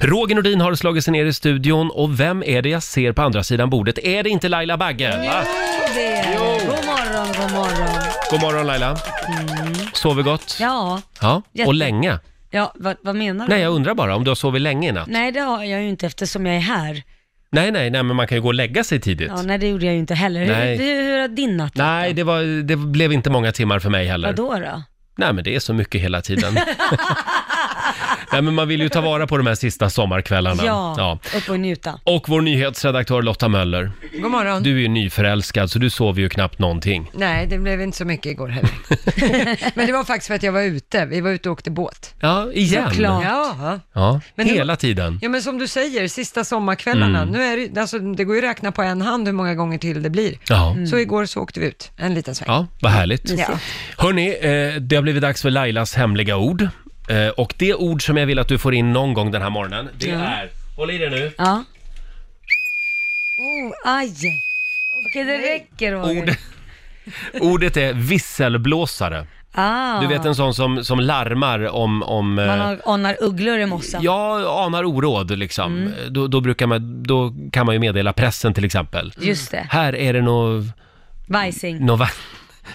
Roger Nordin har slagit sig ner i studion och vem är det jag ser på andra sidan bordet? Är det inte Laila Bagge? Mm. Va? Det är det. God morgon, god morgon. God morgon Laila. Sover gott? Mm. Ja, Ja, Jätte- och länge. ja vad, vad menar du? Nej, jag undrar bara om du har sovit länge i natt? Nej, det har jag ju inte eftersom jag är här. Nej, nej, nej, men man kan ju gå och lägga sig tidigt. Ja, nej, det gjorde jag ju inte heller. Nej. Hur, hur, hur har din natt Nej, det, var, det blev inte många timmar för mig heller. Vadå då? Nej, men det är så mycket hela tiden. nej, men man vill ju ta vara på de här sista sommarkvällarna. Ja, upp och njuta. Och vår nyhetsredaktör Lotta Möller. God morgon. Du är ju nyförälskad, så du sover ju knappt någonting. Nej, det blev inte så mycket igår heller. Men det var faktiskt för att jag var ute. Vi var ute och åkte båt. Ja, igen. Såklart. Ja, Ja, Men det hela tiden. ja men som du säger, sista sommarkvällarna. Mm. Nu är det, alltså, det går ju att räkna på en hand hur många gånger till det blir. Ja. Mm. Så igår så åkte vi ut en liten sväng. Ja, vad härligt. Ja. Hörni, eh, det har blivit dags för Lailas hemliga ord. Eh, och det ord som jag vill att du får in någon gång den här morgonen, det Ja. är... Håll i dig nu. Ja. Oh, aj. Okej, det räcker Roger. Ord, ordet är visselblåsare. Ah. Du vet en sån som, som larmar om... om eh, Man har, anar ugglor i mossen. jag anar oråd liksom. Mm. Då, då, brukar man, då kan man ju meddela pressen till exempel. Just det. Här är det nog... Vajsing. Nå, va,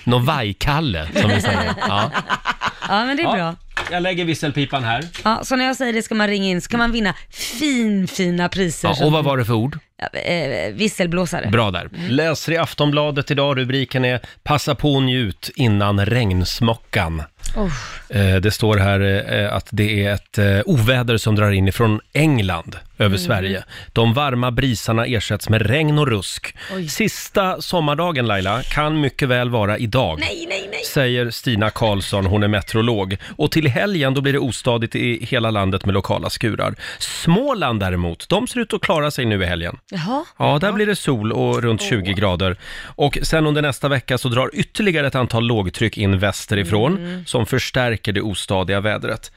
nå vajkalle, som vi säger. Ja. Ja, men det är bra. Ja, jag lägger visselpipan här. Ja, så när jag säger det ska man ringa in, ska man vinna fin, fina priser. Ja, som- och vad var det för ord? Ja, eh, visselblåsare. Bra där. Mm. Läser i Aftonbladet idag, rubriken är “Passa på och njut innan regnsmockan”. Oh. Eh, Det står här eh, att det är ett eh, oväder som drar in ifrån England över Mm. Sverige. De varma brisarna ersätts med regn och rusk. Sista sommardagen Laila kan mycket väl vara idag. Nej, nej, nej. Säger Stina Karlsson, hon är meteorolog. Och till helgen då blir det ostadigt i hela landet med lokala skurar. Småland däremot, de ser ut att klara sig nu i helgen. Jaha. Ja, där blir det sol och runt 20 grader. Och sen under nästa vecka så drar ytterligare ett antal lågtryck in västerifrån Mm. som förstärker det ostadiga vädret.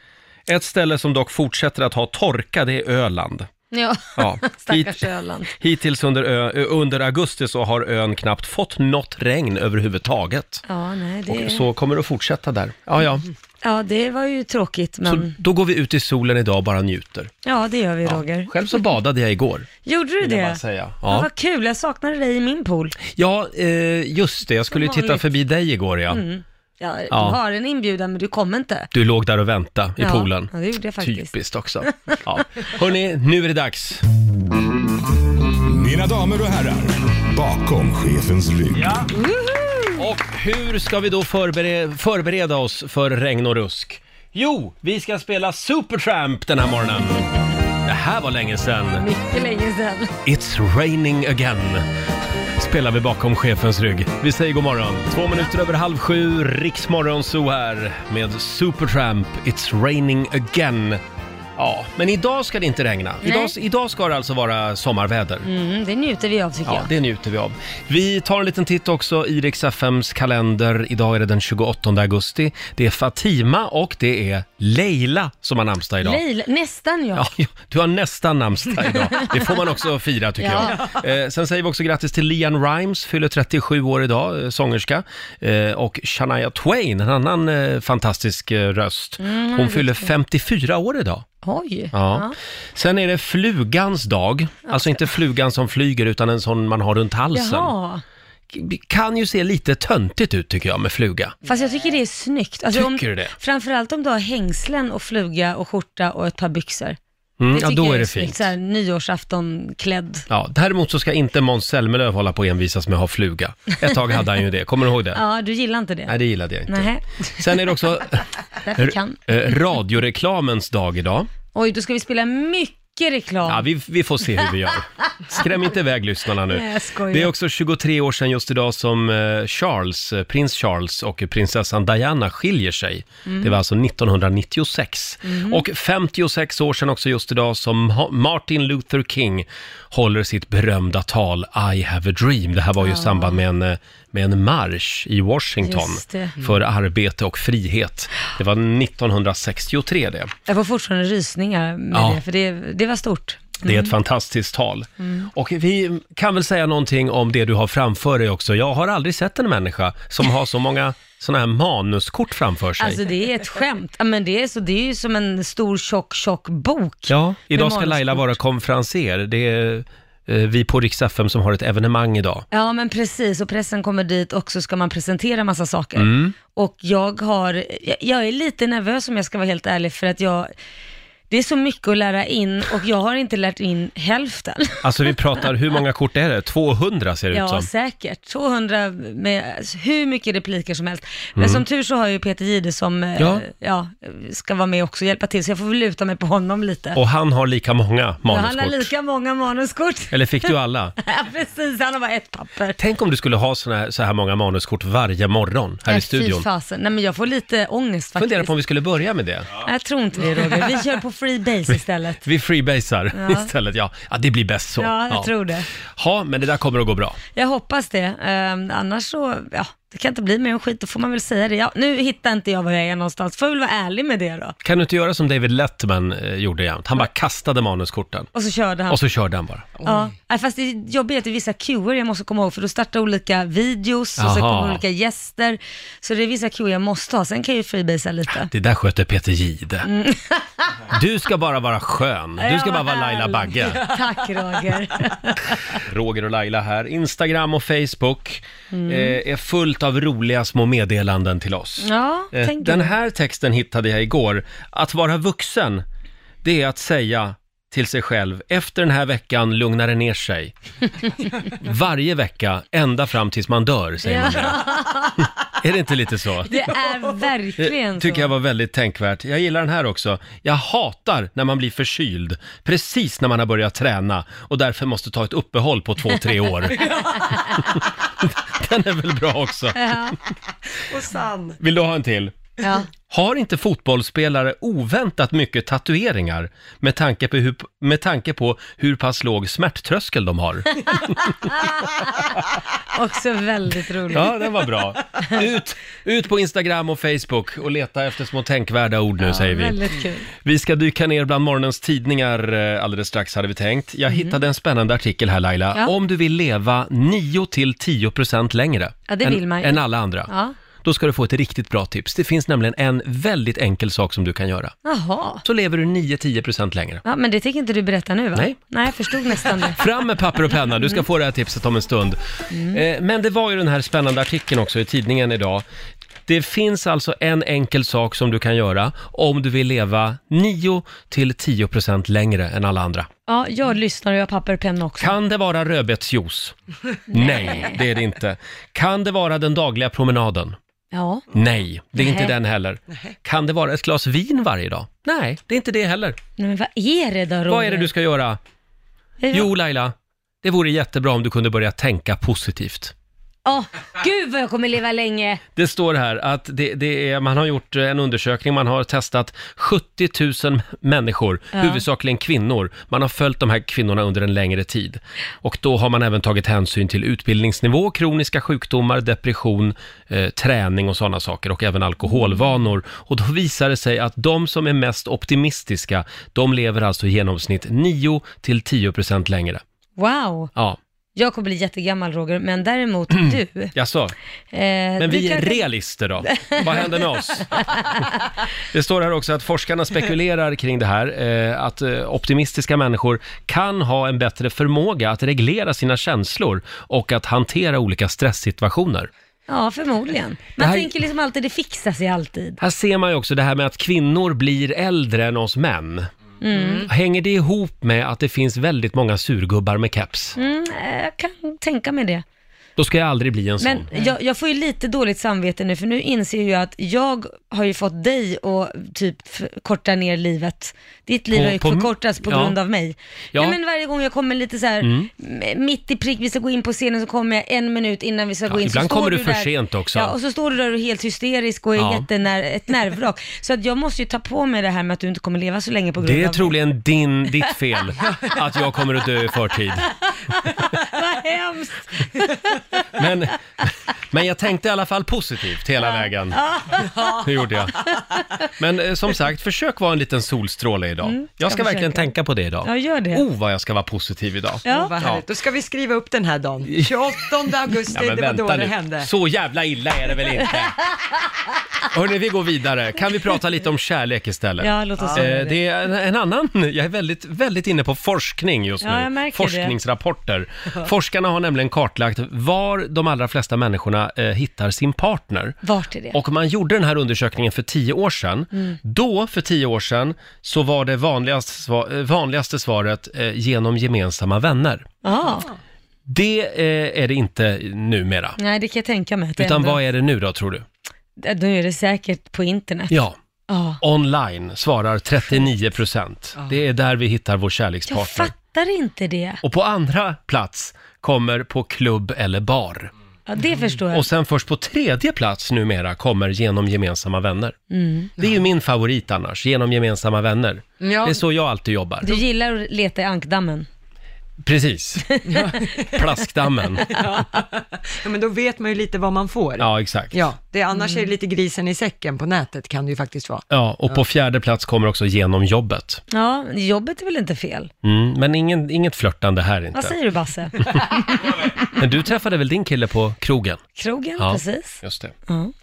Ett ställe som dock fortsätter att ha torka, det är Öland. Ja. Ja, Stackars hit- Öland. Hittills under, ö, ö- under augusti så har ön knappt fått något regn överhuvudtaget. Ja, nej, Och det, Mm. så kommer det att fortsätta där. Ja, ja. ja, det var ju tråkigt, men Så då går vi ut i solen idag och bara njuter. ja, det gör vi Roger. Själv så badade jag igår. Gjorde du jag bara det? säga. Ja. Ja. Vad kul, jag saknade dig i min pool. Ja, eh, just det. Jag skulle ju titta vanligt. Mm. förbi dig igår, ja. Ja, Du Ja. har en inbjudan, men du kom inte. Du låg där och väntade i ja. poolen. Ja, det gjorde jag faktiskt. Typiskt också. Ja. Hörni, nu är det dags. Mina damer och herrar, bakom chefens rygg. Och hur ska vi då förbere- förbereda oss för regn och rusk? Jo, vi ska spela Supertramp den här morgonen. Det här var länge sedan. Mycket länge sedan. It's raining again. Spelar vi bakom chefens rygg. Vi säger god morgon. Två minuter över halv sju, Riksmorgon så här med Supertramp, It's raining again. Ja, men idag ska det inte regna. Idag, idag ska det alltså vara sommarväder. Mm, det njuter vi av tycker Ja, jag. det njuter vi av. Vi tar en liten titt också i Rix FMs kalender. Idag är det den 28 augusti. Det är Fatima och det är Leila som har namnsdag idag. Leila, nästan ja. Ja, ja, du har nästan namnsdag idag. Det får man också fira tycker Ja. jag. Eh, sen säger vi också grattis till Lian Rimes, fyller 37 år idag, eh, sångerska. Eh, och Shania Twain, en annan eh, fantastisk eh, röst. Mm, Hon fyller 54 år idag. Oj. Ja. Ja. Sen är det flugans dag. Alltså inte flugan som flyger utan en sån man har runt halsen. Jaha. K- Kan ju se lite töntigt ut tycker jag med fluga. Fast jag tycker det är snyggt. Alltså, Tycker du det? Framförallt om du har hängslen och fluga och skjorta och ett par byxor. Mm, Det ja, tycker då jag är det snyggt. fint. Så här, nyårsafton-klädd. Ja, däremot så ska inte Måns Zelmerlöw hålla på och envisas med att ha fluga. Ett tag hade han ju det, kommer du ihåg det? Ja, du gillar inte det? Nej, det gillade jag inte. Nej, Sen är det också därför kan. eh, radioreklamens dag idag. Oj, då ska vi spela mycket reklam. Ja, vi, vi får se hur vi gör. Skräm inte iväg lyssnarna nu. Nej, jag skojar. Det är också 23 år sedan just idag som eh, Charles, eh, prins Charles och prinsessan Diana skiljer sig. Mm. Det var alltså 1996. Och 56 år sedan också just idag som Ma- Martin Luther King håller sitt berömda tal I have a dream. Det här var ju i samband med en, eh, med en marsch i Washington Just det. Mm. för arbete och frihet. Det var 1963 det. Jag får fortfarande rysningar med Ja. det, för det, det var stort. Det är ett fantastiskt tal. Mm. Och vi kan väl säga någonting om det du har framför dig också. Jag har aldrig sett en människa som har så många sådana här manuskort framför sig. Alltså det är ett skämt. Ja, men det, är så, det är ju som en stor tjock, tjock bok. Ja, idag ska manuskort. Laila vara konferenser. Det är eh, vi på Rix FM som har ett evenemang idag. Ja men precis, och pressen kommer dit och så ska man presentera massa saker. Mm. Och jag har, jag- jag är lite nervös om jag ska vara helt ärlig för att jag, det är så mycket att lära in och jag har inte lärt in hälften. Alltså vi pratar, hur många kort är det? 200 ser det ut Ja, som. säkert. 200 med hur mycket repliker som helst. Men som tur så har ju Peter Jihde som eh, Mm. Ja. ja. ska vara med också och hjälpa till, så jag får väl luta mig på honom lite. Och han har lika många Ja, han har manuskort. lika många manuskort. Eller fick du alla? Ja, precis, han har bara ett papper. Tänk om du skulle ha såna här, så här många manuskort varje morgon här i Nej, studion. Fy fasen. Nej, men jag får lite ångest faktiskt. Fundera på om vi skulle börja med det. Nej, Jag tror inte det Roger, vi kör på free base istället. Vi freebasar istället. Ja. ja, det blir bäst så. Ja, jag tror det. Ja, men det där kommer att gå bra. Jag hoppas det, Ehm, annars så, ja, det kan inte bli mer än skit, då får man väl säga det. Ja, nu hittar inte jag var jag är någonstans, får jag väl vara ärlig med det då. Kan du inte göra som David Letterman eh, gjorde jämt? Han bara kastade manuskorten Och så körde han. och så körde han bara. Ja, nej, fast det är jobbigt att det är vissa cuer jag måste komma ihåg, för då startar olika videos och så Jaha. kommer olika gäster. Så det är vissa cuer jag måste ha, sen kan jag ju freebasea lite. Det där sköter Peter Jihde. Mm. Du ska bara vara skön. Du ska bara vara Laila Bagge. Tack Roger. Roger och Laila här. Instagram och Facebook Mm. eh, är fullt av roliga små meddelanden till oss. Ja, Eh, tänk Den du. här texten hittade jag igår. Att vara vuxen, det är att säga till sig själv, efter den här veckan lugnar det ner sig. Varje vecka, ända fram tills man dör, säger man det. Är det inte lite så? Det är Det verkligen så. Eh, tycker jag var väldigt tänkvärt. Jag gillar den här också. Jag hatar när man blir förkyld, precis när man har börjat träna och därför måste ta ett uppehåll på två, tre år. den är väl bra också. Och sann. Vill du ha en till? Ja. Har inte fotbollsspelare oväntat mycket tatueringar med tanke på hur, med tanke på hur pass låg smärttröskel de har? Också väldigt roligt. Ja, den var bra. Ut, ut på Instagram och Facebook och leta efter små tänkvärda ord nu, säger vi. Väldigt kul. Vi ska dyka ner bland morgonens tidningar eh, alldeles strax hade vi tänkt. Jag hittade en spännande artikel här Laila. Ja. Om du vill leva 9-10% längre Ja, det än, vill man ju. än alla andra, Ja. då ska du få ett riktigt bra tips. Det finns nämligen en väldigt enkel sak som du kan göra. Jaha. Så lever du 9-10% längre. Ja, men det tänker inte du berätta nu va? Nej. Nej, jag förstod nästan det. Fram med papper och penna, du ska få det här tipset om en stund. Mm. Eh, Men det var ju den här spännande artikeln också i tidningen idag. Det finns alltså en enkel sak som du kan göra om du vill leva 9-10% längre än alla andra. Ja, jag lyssnar och jag har papper och penna också. Kan det vara rödbetsjuice? Nej, det är det inte. Kan det vara den dagliga promenaden? Ja. Nej, det är inte Nej. den heller. Kan det vara ett glas vin varje dag? Nej, det är inte det heller. Nej, men vad är det då Roger? Eh, Vad är det du ska göra? Jo, Laila, det vore jättebra om du kunde börja tänka positivt. Åh, gud vad jag kommer leva länge. Det står här att det, det är, man har gjort en undersökning, man har testat 70 000 människor, huvudsakligen kvinnor. Man har följt de här kvinnorna under en längre tid. Och då har man även tagit hänsyn till utbildningsnivå, kroniska sjukdomar, depression, eh, träning och sådana saker och även alkoholvanor. Och då visar det sig att de som är mest optimistiska, de lever alltså i genomsnitt 9 till 10 procent längre. Wow. Ja, Jag kommer bli jättegammal Roger, men däremot du. Eh, jag sa. Mm. Men du vi är kanske- realister då. Vad händer med oss? Det står här också att forskarna spekulerar kring det här, eh, att eh, optimistiska människor kan ha en bättre förmåga att reglera sina känslor och att hantera olika stresssituationer. Ja, förmodligen. Man Det här- tänker liksom alltid, det fixar sig alltid. Här ser man ju också det här med att kvinnor blir äldre än oss män. Mm. Hänger det ihop med att det finns väldigt många surgubbar med keps? Mm, eh, jag kan tänka mig det. Då ska jag aldrig bli en sån. Men jag, jag får ju lite dåligt samvete nu, för nu inser jag ju att jag har ju fått dig att typ f- korta ner livet. Ditt liv På- har ju på- förkortats på ja. grund av mig. Ja. Mm. Nej, men varje gång jag kommer lite så här, m- mitt i prick, vi ska gå in på scenen, så kommer jag en minut innan vi ska gå in. ibland så kommer står du för där, sent också. Ja, och så står du där och är helt hysterisk och är Ja. jättenär, ett nervvrak. Så att jag måste ju ta på mig det här med att du inte kommer leva så länge på grund Det är av troligen din, ditt fel att jag kommer att dö i förtid. Vad hemskt! Men, men jag tänkte i alla fall positivt hela vägen. Det gjorde jag. Men eh, som sagt, försök vara en liten solstråle idag. jag ska Mm, ska verkligen försöka. tänka på det idag. Ja, gör det. Oh, vad jag ska vara positiv idag. Ja. Åh, vad härligt. Då ska vi skriva upp den här dagen. 28 augusti, det var då det hände. Så jävla illa är det väl inte? Hörni, vi går vidare. Kan vi prata lite om kärlek istället? Ja, låt oss Eh, göra det. Det är en, en annan, jag är väldigt, väldigt inne på forskning just nu. Ja, jag märker det. Forskningsrapporter. Forskarna har nämligen kartlagt var de allra flesta människorna eh, hittar sin partner. Vart är det? Och man gjorde den här undersökningen för tio år sedan. Mm. Då, för tio år sedan, så var det vanligaste, sva- eh, vanligaste svaret eh, genom gemensamma vänner. Ja, Det eh, är det inte numera. nej det kan jag tänka mig. att det Utan ändå- vad är det nu då, tror du? Ja, Då är det säkert på internet. Ja, Ja. online svarar 39 procent. Det är där vi hittar vår Jag kärlekspartner. fattar inte det. Och på andra plats kommer på klubb eller bar. Ja, det förstår jag. Mm. Och sen först på tredje plats numera kommer genom gemensamma vänner. Mm. Det är ju min favorit annars, genom gemensamma vänner. Ja. Det är så jag alltid jobbar. Du gillar att leta i ankdammen. Precis. Plaskdammen. Ja, men då vet man ju lite vad man får. Ja, Mm. exakt. Ja, det, annars är det lite grisen i säcken på nätet kan det ju faktiskt vara. Ja, och på fjärde plats kommer också genom jobbet. Ja, jobbet är väl inte fel? Mm, men ingen, inget flörtande här Vad inte. säger du Basse? Men du träffade väl din kille på krogen? Krogen, Ja. precis. Just det.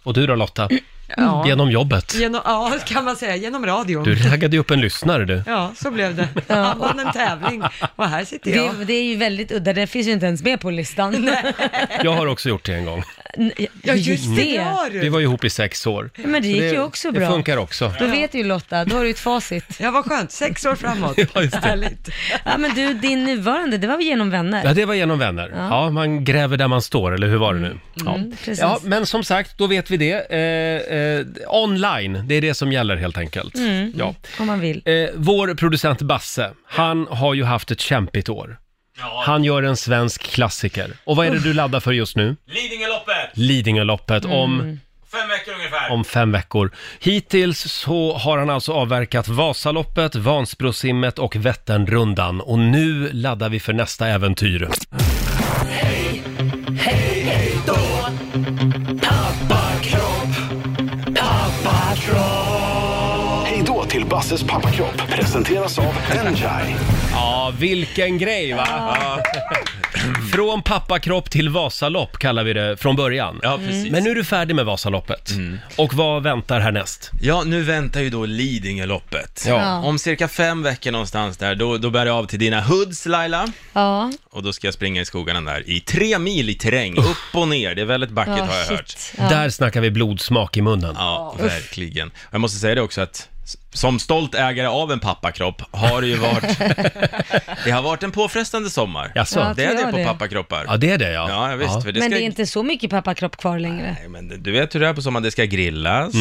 Och du då Lotta? Ja. Genom jobbet. Genom, ja, kan man säga, genom radion. Du raggade ju upp en lyssnare du. Ja, så blev det. Han vann en tävling och här sitter jag. Det, det är ju väldigt udda, det finns ju inte ens med på listan. Jag har också gjort det en gång. N- Ja, just det, det har Vi du. var ihop i sex år. Men det gick ju också bra. Det funkar också. Då vet ju Lotta, då har du ett facit. Ja, vad skönt. Sex år framåt. Ja, just det. Härligt. Ja men du, din nuvarande, det var väl genom Ja, vänner? det var genom vänner. Ja, man gräver där man står, eller hur var det nu? Ja. precis. ja, men som sagt, då vet vi det. Eh, eh, online, det är det som gäller helt enkelt. Ja. Om man vill. Eh, vår producent Basse, han har ju haft ett kämpigt år. Han gör en svensk klassiker. Och vad är det du laddar för just nu? Lidingöloppet! Lidingöloppet om, Fem veckor ungefär. om fem veckor. Hittills så har han alltså avverkat Vasaloppet, Vansbrosimmet och Vätternrundan. Och nu laddar vi för nästa äventyr. Hej då till Basses pappakropp presenteras av Enjai. Ja, vilken grej va? Från pappakropp till Vasalopp kallar vi det från början. Ja, precis. Mm. Men nu är du färdig med Vasaloppet. Och vad väntar härnäst? Ja, nu väntar ju då Lidingöloppet. Ja. Om cirka fem veckor någonstans där, då, då bär jag av till dina hoods Laila. Ja, Och då ska jag springa i skogarna där i tre mil i terräng, upp och ner. Det är väldigt backigt ja har jag hört. shit. Ja. Där snackar vi blodsmak i munnen. Ja, verkligen. Jag måste säga det också att s- som stolt ägare av en pappakropp har det ju varit, det har varit en påfrestande sommar. Jaså? Ja, det är tror det jag på det. pappakroppar. Ja, det är det ja. Ja, ja, visst. För det Men ska det är inte så mycket pappakropp kvar längre. Nej, men du vet hur det är på sommaren, det ska grillas,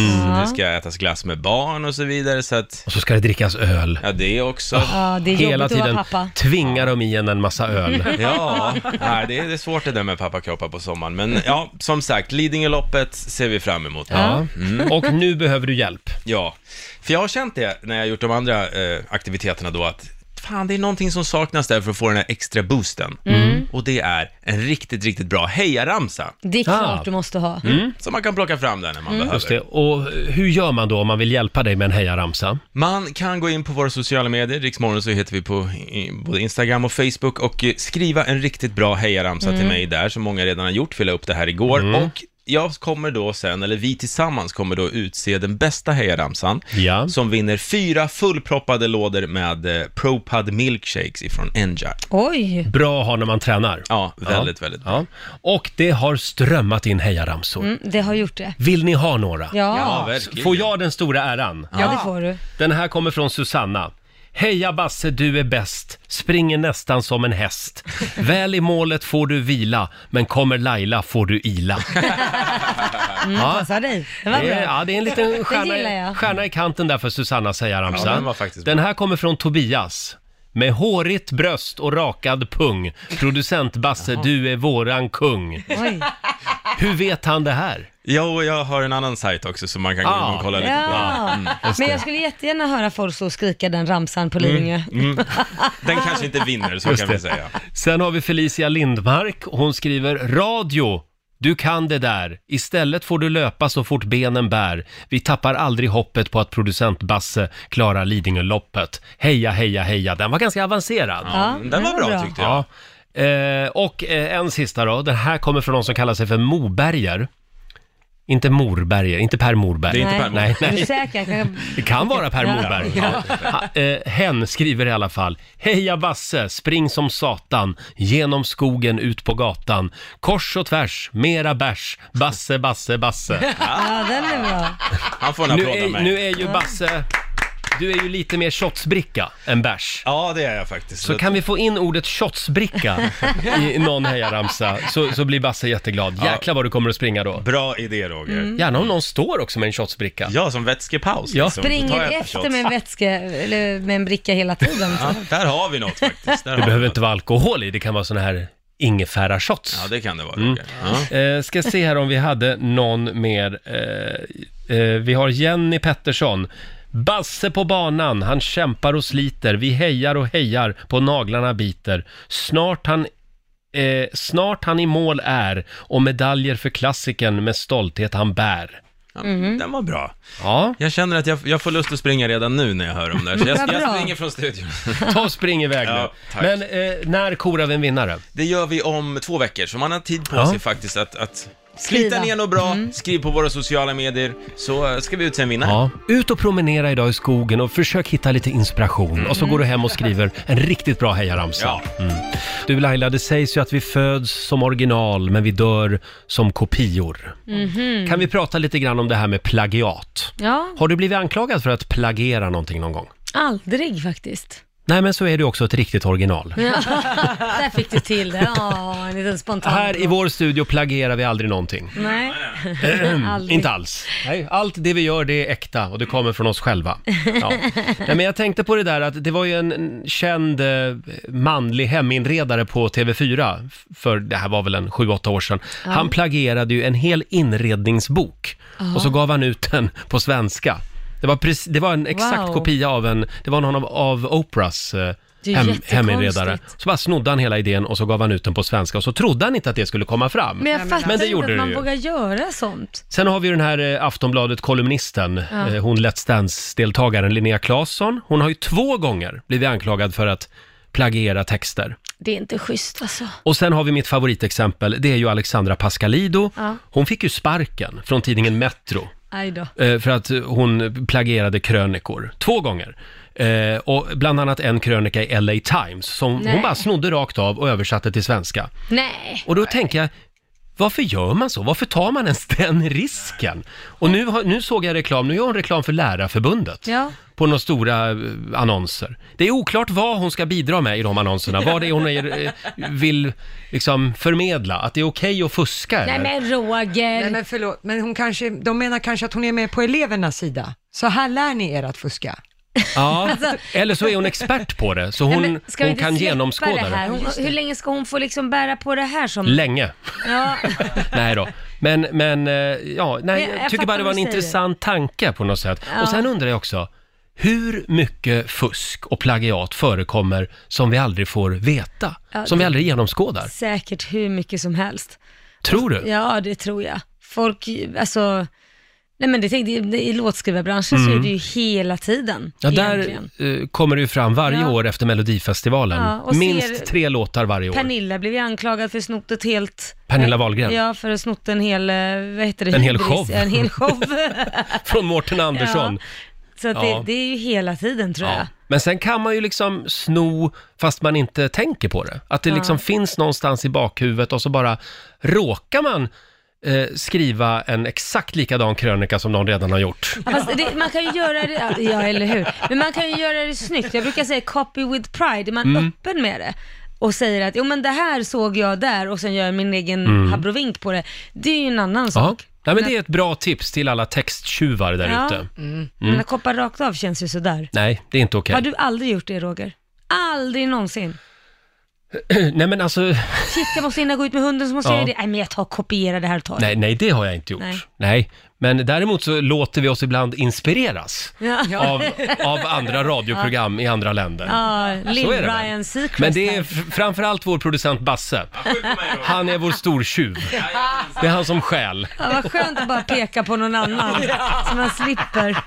det ska ätas glass med barn och så vidare, så att, Och så ska det drickas öl. ja det också. Ja, det är Hela jobbigt att tiden vara pappa. tvingar de i en en massa Mm. öl. Ja, nej, det, är, det är svårt det där med pappakroppar på sommaren, men ja, som sagt, Lidingöloppet ser vi fram emot. Mm. Ja. Och nu behöver du hjälp. Mm. Ja, för jag har känt det när jag gjort de andra eh, aktiviteterna då, att fan, det är någonting som saknas där för att få den här extra boosten. Mm. Och det är en riktigt, riktigt bra hejaramsa, Det är klart Ah. du måste ha. som man kan plocka fram där när man behöver. Mm. Just det. Och hur gör man då om man vill hjälpa dig med en hejaramsa? Man kan gå in på våra sociala medier, Riksmorgon så heter vi på i- både Instagram och Facebook och eh, skriva en riktigt bra hejaramsa Mm. till mig där som många redan har gjort, fylla upp det här igår och jag kommer då sen, eller vi tillsammans kommer då utse den bästa hejaramsan Ja. som vinner fyra fullproppade lådor med eh, ProPad milkshakes ifrån Enjar. Oj, Bra att ha när man tränar. Ja, väldigt, väldigt bra. Ja. Och det har strömmat in hejaramsor. mm, det har gjort det. Vill ni ha några? Ja, Ja, ja, verkligen. Får jag den stora äran? det får du. Mm. Den här kommer från Susanna. Heja Basse, du är bäst. Springer nästan som en häst. Väl i målet får du vila, men kommer Laila får du ila. ja, Passar dig. Det var det bra. är, ja, det är en liten stjärna, gillar i- jag. stjärna i kanten där för Susanna, säger Ramsa. Ja, den var faktiskt bra. den här kommer från Tobias. Med hårigt bröst och rakad pung. Producent Basse, du är våran kung. Oj. Hur vet han det här? Jo, jag har en annan sajt också som man kan gå in Ah. och kolla lite på. Mm. Ja, mm, men jag skulle jättegärna höra Forso skrika den ramsan på Lidingö. Mm, Den kanske inte vinner, så kan vi säga. Sen har vi Felicia Lindmark. Hon skriver radio. Du kan det där. Istället får du löpa så fort benen bär. Vi tappar aldrig hoppet på att producent Basse klarar Lidingöloppet. Heja, heja, heja. Den var ganska avancerad. Ja, Mm. Den, var bra, tyckte jag. Mm, Ja. Eh, och eh, en sista då. Den här kommer från någon som kallar sig för Moberger. Inte Morberger, inte Per Morberg. Det är inte Nej. Per Nej, Är du nej. säker? Jag kan- Det kan vara Per Morberg. Ja. Ha- eh, Hen skriver i alla fall. Heja Basse, spring som satan. Genom skogen, ut på gatan. Kors och tvärs, mera bärs. Basse, Basse, Basse. Ja, den är bra. Han får en Nu applåd av är, mig. nu är ju Basse, du är ju lite mer shotsbricka än bärs. Ja, det är jag faktiskt. Så kan vi få in ordet shotsbricka i någon hejaramsa så, så blir Basse jätteglad. Jäklar vad du kommer att springa då. Bra idé, Roger. Mm. Gärna om någon står också med en shotsbricka. Ja, som vätskepaus. Ja. liksom. Då tar jag Springer ett par efter shots. med en vätska, eller med en bricka hela tiden. Ja, där har vi något faktiskt. Det Där har behöver vi inte vara alkohol i, det kan vara såna här ingefära-shots. något. Ja, det kan det vara, Mm. Roger. Ja. Eh, ska se här om vi hade någon mer. Eh, eh, vi har Jenny Pettersson. Basse på banan, han kämpar och sliter. Vi hejar och hejar, på naglarna biter. Snart han, eh, snart han i mål är och medaljer för klassiken med stolthet han bär. Ja, Mm. Den var bra. Ja, Jag känner att jag, jag får lust att springa redan nu när jag hör om det här, så jag, Vad jag bra. springer från studion. ta och spring iväg nu. Ja, tack. Men eh, när korar vi en vinnare? Det gör vi om två veckor, så man har tid på Ja. sig faktiskt att, att slita ner något bra, Mm. skriv på våra sociala medier, så eh, ska vi utse en vinnare. Ja, ut och promenera idag i skogen och försök hitta lite inspiration. Och så går du hem och skriver en riktigt bra hejaramsa. Ja. Mm. Du Laila, det sägs ju att vi föds som original men vi dör som kopior. Kan vi prata lite grann om det här med plagiat? Ja, Har du blivit anklagad för att plagiera någonting någon gång? aldrig faktiskt. Nej, men så är du också ett riktigt original. Där fick du till det. Ja, en liten spontan. Här i vår studio plagierar vi aldrig någonting. Nej, aldrig. Inte alls. Nej, allt det vi gör det är äkta och det kommer från oss själva. Ja. Nej, men jag tänkte på det där att det var ju en- en känd eh, manlig heminredare på TV4, f- för det här var väl en 7-8 år sedan. Han plagierade ju en hel inredningsbok och så gav han ut den på svenska. Det var, precis, det var en exakt Wow. kopia av en, det var någon av, av Oprahs eh, Det är hem, jättekonstigt. heminredare. Så bara snodde han hela idén och så gav han ut den på svenska och så trodde han inte att det skulle komma fram. Men jag fattar Men det gjorde du inte att man ju. vågar göra sånt. Sen har vi ju den här eh, Aftonbladet-kolumnisten, eh, hon Let's Dance-deltagaren Linnea Claesson. Hon har ju två gånger blivit anklagad för att plagiera texter. Det är inte schysst alltså. Och sen har vi mitt favoritexempel, det är ju Alexandra Pascalido. Ja. Hon fick ju sparken från tidningen Metro Aj då. eh, för att hon plagierade krönikor. Två gånger. Eh, och bland annat en krönika i LA Times som hon Nej. bara snodde rakt av och översatte till svenska. Nej. Och då tänker jag, varför gör man så? Varför tar man ens den risken? Och nu, har, nu såg jag reklam, nu gör hon reklam för Lärarförbundet. Ja. På några stora eh, annonser. Det är oklart vad hon ska bidra med i de annonserna. Vad det är hon är, eh, vill liksom förmedla. Att det är okej att fuska Nej eller? men Roger. Nej men förlåt, men hon kanske, de menar kanske att hon är med på elevernas sida. Så här lär ni er att fuska. Ja. Eller så är hon expert på det. Så hon, alltså- Nej, men ska vi hon inte kan släppa genomskåda det. här? Hon, hur länge ska hon få liksom bära på det här som... Länge. ja. Nej då. Men, men eh, ja, nej, jag jag tycker fattar bara det var vad en du säger. intressant tanke på något sätt. Ja. Och sen undrar jag också, hur mycket fusk och plagiat förekommer som vi aldrig får veta? Ja, som vi det- aldrig genomskådar? Säkert hur mycket som helst. Tror du? Ja, det tror jag. Folk, alltså... Nej men det tänkte jag, i låtskrivarbranschen så är det ju hela tiden. Mm. Ja, där egentligen. eh, kommer det ju fram varje Ja. år efter Melodifestivalen. Ja, och Minst ser- tre låtar varje år. Pernilla blev ju anklagad för att snott ett helt... Pernilla Wahlgren. Ja, för att snott en hel, eh, vad heter det? En hel hybris. show. Ja, En hel show. Från Mårten Andersson. Ja. Så att Ja. det, det är ju hela tiden tror jag. Ja. Men sen kan man ju liksom sno fast man inte tänker på det. Att det liksom finns någonstans i bakhuvudet och så bara råkar man eh, skriva en exakt likadan krönika som någon redan har gjort. Fast det, man kan ju göra det, ja eller hur, men man kan ju göra det snyggt. Jag brukar säga copy with pride, är man Mm. öppen med det och säger att jo men det här såg jag där och sen gör jag min egen abrovink på det. Det är ju en annan Mm. Ja. sak. Nej, men det är ett bra tips till alla texttjuvar där Ja. ute. Men att koppa rakt av känns ju sådär. Nej, det är inte okej. Har du aldrig gjort det Roger? Aldrig någonsin. Nej men alltså, Shit, jag måste hinna gå ut med hunden så måste Ja. jag göra det. Nej, men jag tar och kopierar det här och tar det. nej, nej det har jag inte gjort. Nej. Nej. Men däremot så låter vi oss ibland inspireras Ja. av, av andra radioprogram i andra länder. Ja, Lill Så är det väl. Ryan Seacrest. Men det är här. f- framförallt vår producent Basse. Han är vår stortjuv. Det är han som stjäl. Ja, vad skönt att bara peka på någon annan, så man slipper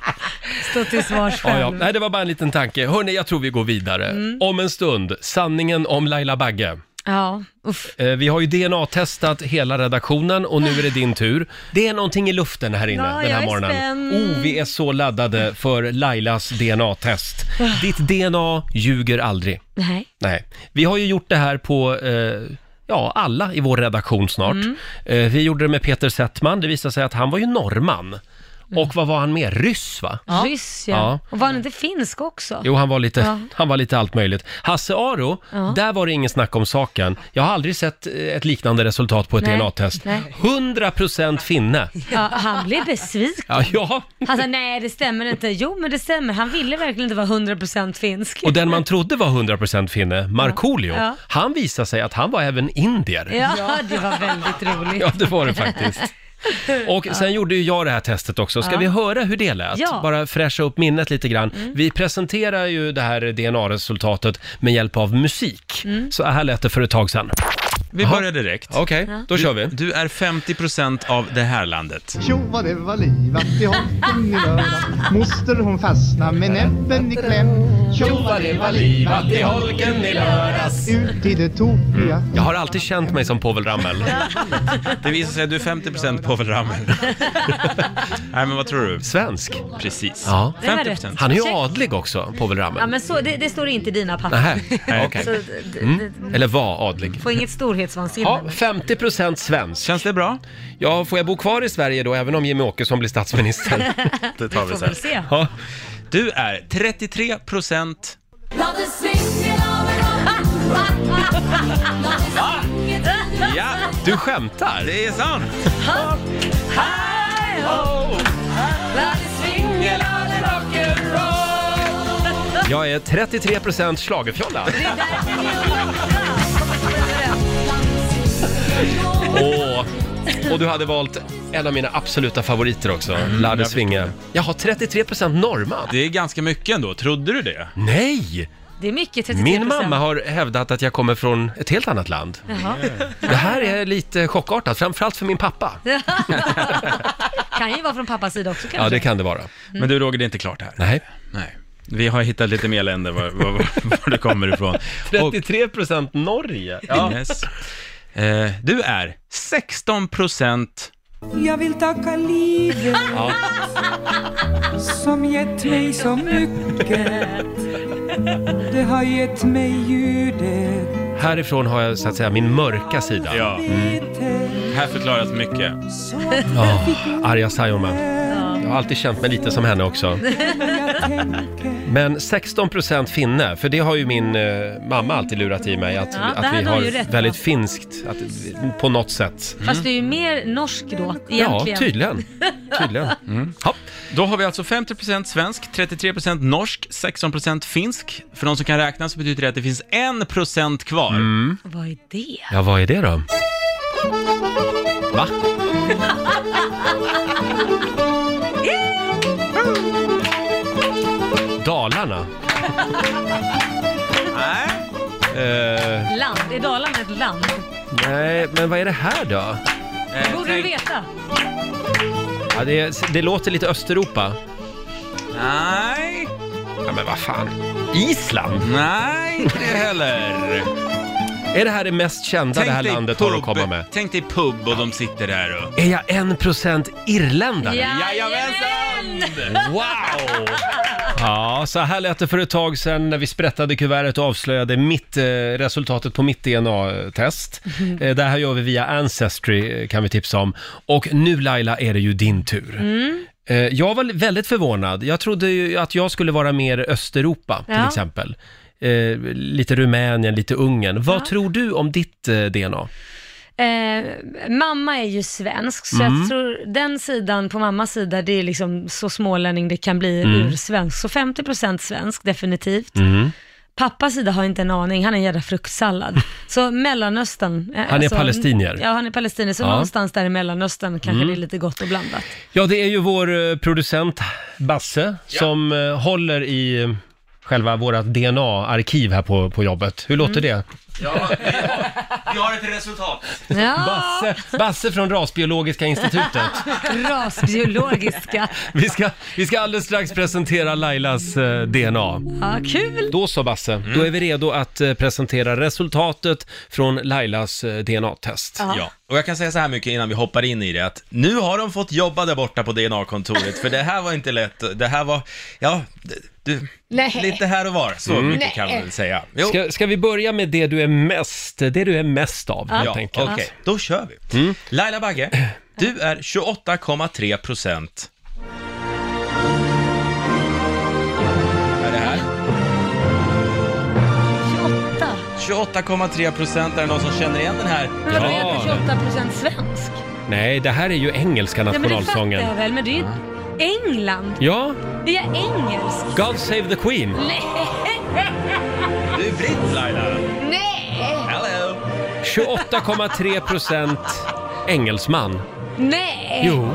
stå till svars Ja, själv. ja. Nej, det var bara en liten tanke. Hörni, jag tror vi går vidare. Mm. Om en stund, sanningen om Laila Bagge. Ja, uff. Eh, Vi har ju DNA-testat hela redaktionen och nu är det din tur. Det är någonting i luften här inne Ja, den jag här är morgonen. spänd. Oh, vi är så laddade för Lailas DNA-test. Ah. Ditt DNA ljuger aldrig. Nej. Nej, vi har ju gjort det här på eh, ja, alla i vår redaktion snart. Mm. Eh, vi gjorde det med Peter Settman, det visade sig att han var ju norrman. Mm. Och vad var han mer? Ryss va? Ryss ja. Ja. Och var han inte finsk också? Jo, han var lite, Ja. han var lite allt möjligt. Hasse Aro, där var det ingen snack om saken. Jag har aldrig sett eh, ett liknande resultat på ett Nej, DNA-test. nej. 100% finne. Ja, han blev besviken. Ja, ja, Han sa nej det stämmer inte. Jo men det stämmer, han ville verkligen inte vara 100% finsk. och den man trodde var 100% finne, Markoolio, Ja. han visade sig att han var även indier. Ja, det var väldigt roligt. Ja, det var det faktiskt. Och sen gjorde ju jag det här testet också. Ska vi höra hur det lät? Ja. Mm. Bara fräscha upp minnet lite grann. Vi presenterar ju det här DNA-resultatet med hjälp av musik. Mm. Så här lät det för ett tag sedan. Vi börjar direkt. Okej, då kör vi. Du, du är 50% av det här landet. Tjo vad det var livat i hoppen i lördags Moster hon fastna med näbben i kläm Tjo vad det var livat i holken i lördags Ut i det tokiga Jag har alltid känt mig som Povel Ramel. Det visar sig att du är 50% Povel Ramel. Nej, men vad tror du? Svensk. Precis. Ja. Det var 50%. Han är ju Check. adlig också, Povel Ja Ramel. men så, det, det står inte i dina papper. Nähä, okej. Mm. Så, d- d- d- Eller var adlig. Få inget storhetsvansinne. Ja, 50% svensk. Känns det bra? Ja, får jag bo kvar i Sverige då, även om Jimmy Åkesson blir statsminister? Det tar Får väl se. Ja. Du är 33% Love is singing all around. Love is singing to the Ja, Du skämtar? det är sant! Jag är 33% schlagerfjolla. Åh, och du hade valt en av mina absoluta favoriter också, Ladde Mm, jag Svinge. Jag har 33% norrman. Det är ganska mycket ändå, trodde du Mm. det? Nej! Det är mycket 33%. Min mamma har hävdat att jag kommer från ett helt annat land. Jaha. Det här är lite chockartat, framförallt för min pappa. Kan ju vara från pappas sida också kanske. Ja, det kan det vara. Men du Roger, det är inte klart här. Nej. Nej. Vi har hittat lite mer länder var, var, var, var du kommer ifrån. Och, 33% Norge. ja. yes. eh, du är 16% Jag vill tacka livet som gett mig så mycket. Det har gett mig ljudet. Härifrån har jag så att säga min mörka sida. Ja, här förklaras mycket. Så Ja, Arja Saijonmaa. Jag har alltid känt mig lite som henne också. jag tänker. Men 16% finne, för det har ju min eh, mamma alltid lurat i mig att, Ja, det att hade vi hon ju har rätt väldigt på. finskt att, på något sätt. Fast du är ju mer norsk då egentligen. Ja, tydligen. tydligen. Ja. Då har vi alltså 50% svensk, 33% norsk, 16% finsk. För de som kan räkna så betyder det att det finns 1% kvar. Mm. Vad är det? ja, vad är det då? Va? Dalarna? Nej. Eh, Land? Är Dalarna ett land? nej, men vad är det här då? Eh, Borde du tänk- veta? Ja, det, det låter lite Östeuropa. Nej, Ja, men vad fan. Island? nej, inte det heller. Är det här det mest kända det här landet har att komma med? Tänk dig pub och de sitter där och... Är jag 1% irländare? Jajamensan! Wow! Ja, så här lät det för ett tag sedan när vi sprättade kuvertet och avslöjade mitt, eh, resultatet på mitt DNA-test. Eh, det här gör vi via Ancestry, eh, kan vi tipsa om. Och nu Laila är det ju din tur. Eh, jag var väldigt förvånad. Jag trodde ju att jag skulle vara mer Östeuropa, till Ja. exempel. Eh, lite Rumänien, lite Ungern. Vad tror du om ditt eh, DNA? Eh, mamma är ju svensk, så Mm. jag tror den sidan på mammas sida, det är Mm. liksom så smålänning det kan bli ur svensk. Så 50% svensk, definitivt. Pappas sida har inte en aning, han är en jävla fruktsallad. Så Mellanöstern. eh, är palestinier. Ja, han är palestinier. Så Ja. Mm. någonstans där i Mellanöstern kanske det är lite gott och blandat. Ja, det är ju vår eh, producent Basse som eh, håller i eh, själva våra DNA-arkiv här på, på jobbet. Hur låter Mm. det? Vi har ett resultat. Ja, Basse, Basse från Rasbiologiska institutet. rasbiologiska. Vi ska, vi ska alldeles strax presentera Lailas eh, DNA. Ja, kul. Då så Basse, Mm. då är vi redo att eh, presentera resultatet från Lailas eh, DNA-test. Ja, och jag kan säga så här mycket innan vi hoppar in i det att nu har de fått jobba där borta på DNA-kontoret för det här var inte lätt. Det här var, ja, d- du, Nej. lite här och var. Så mycket kan man väl säga. Jo. Mm. Ska, ska vi börja med det du är mest, det du är mest av helt Ja, Mm. enkelt? okej, då kör vi. Laila Bagge, du är 28,3 procent. Är det här? 28. 28,3 procent, är det någon som känner igen den här? Men vadå, jag är Ja. 28 procent svensk? Nej, det här är ju engelska Ja, men det fattar nationalsången. Mm. jag väl, men det är ju England. Ja, Är jag engelsk? God save the Queen. Du är britt Laila. Nej! Hello! 28,3 procent engelsman. Nej! Jo.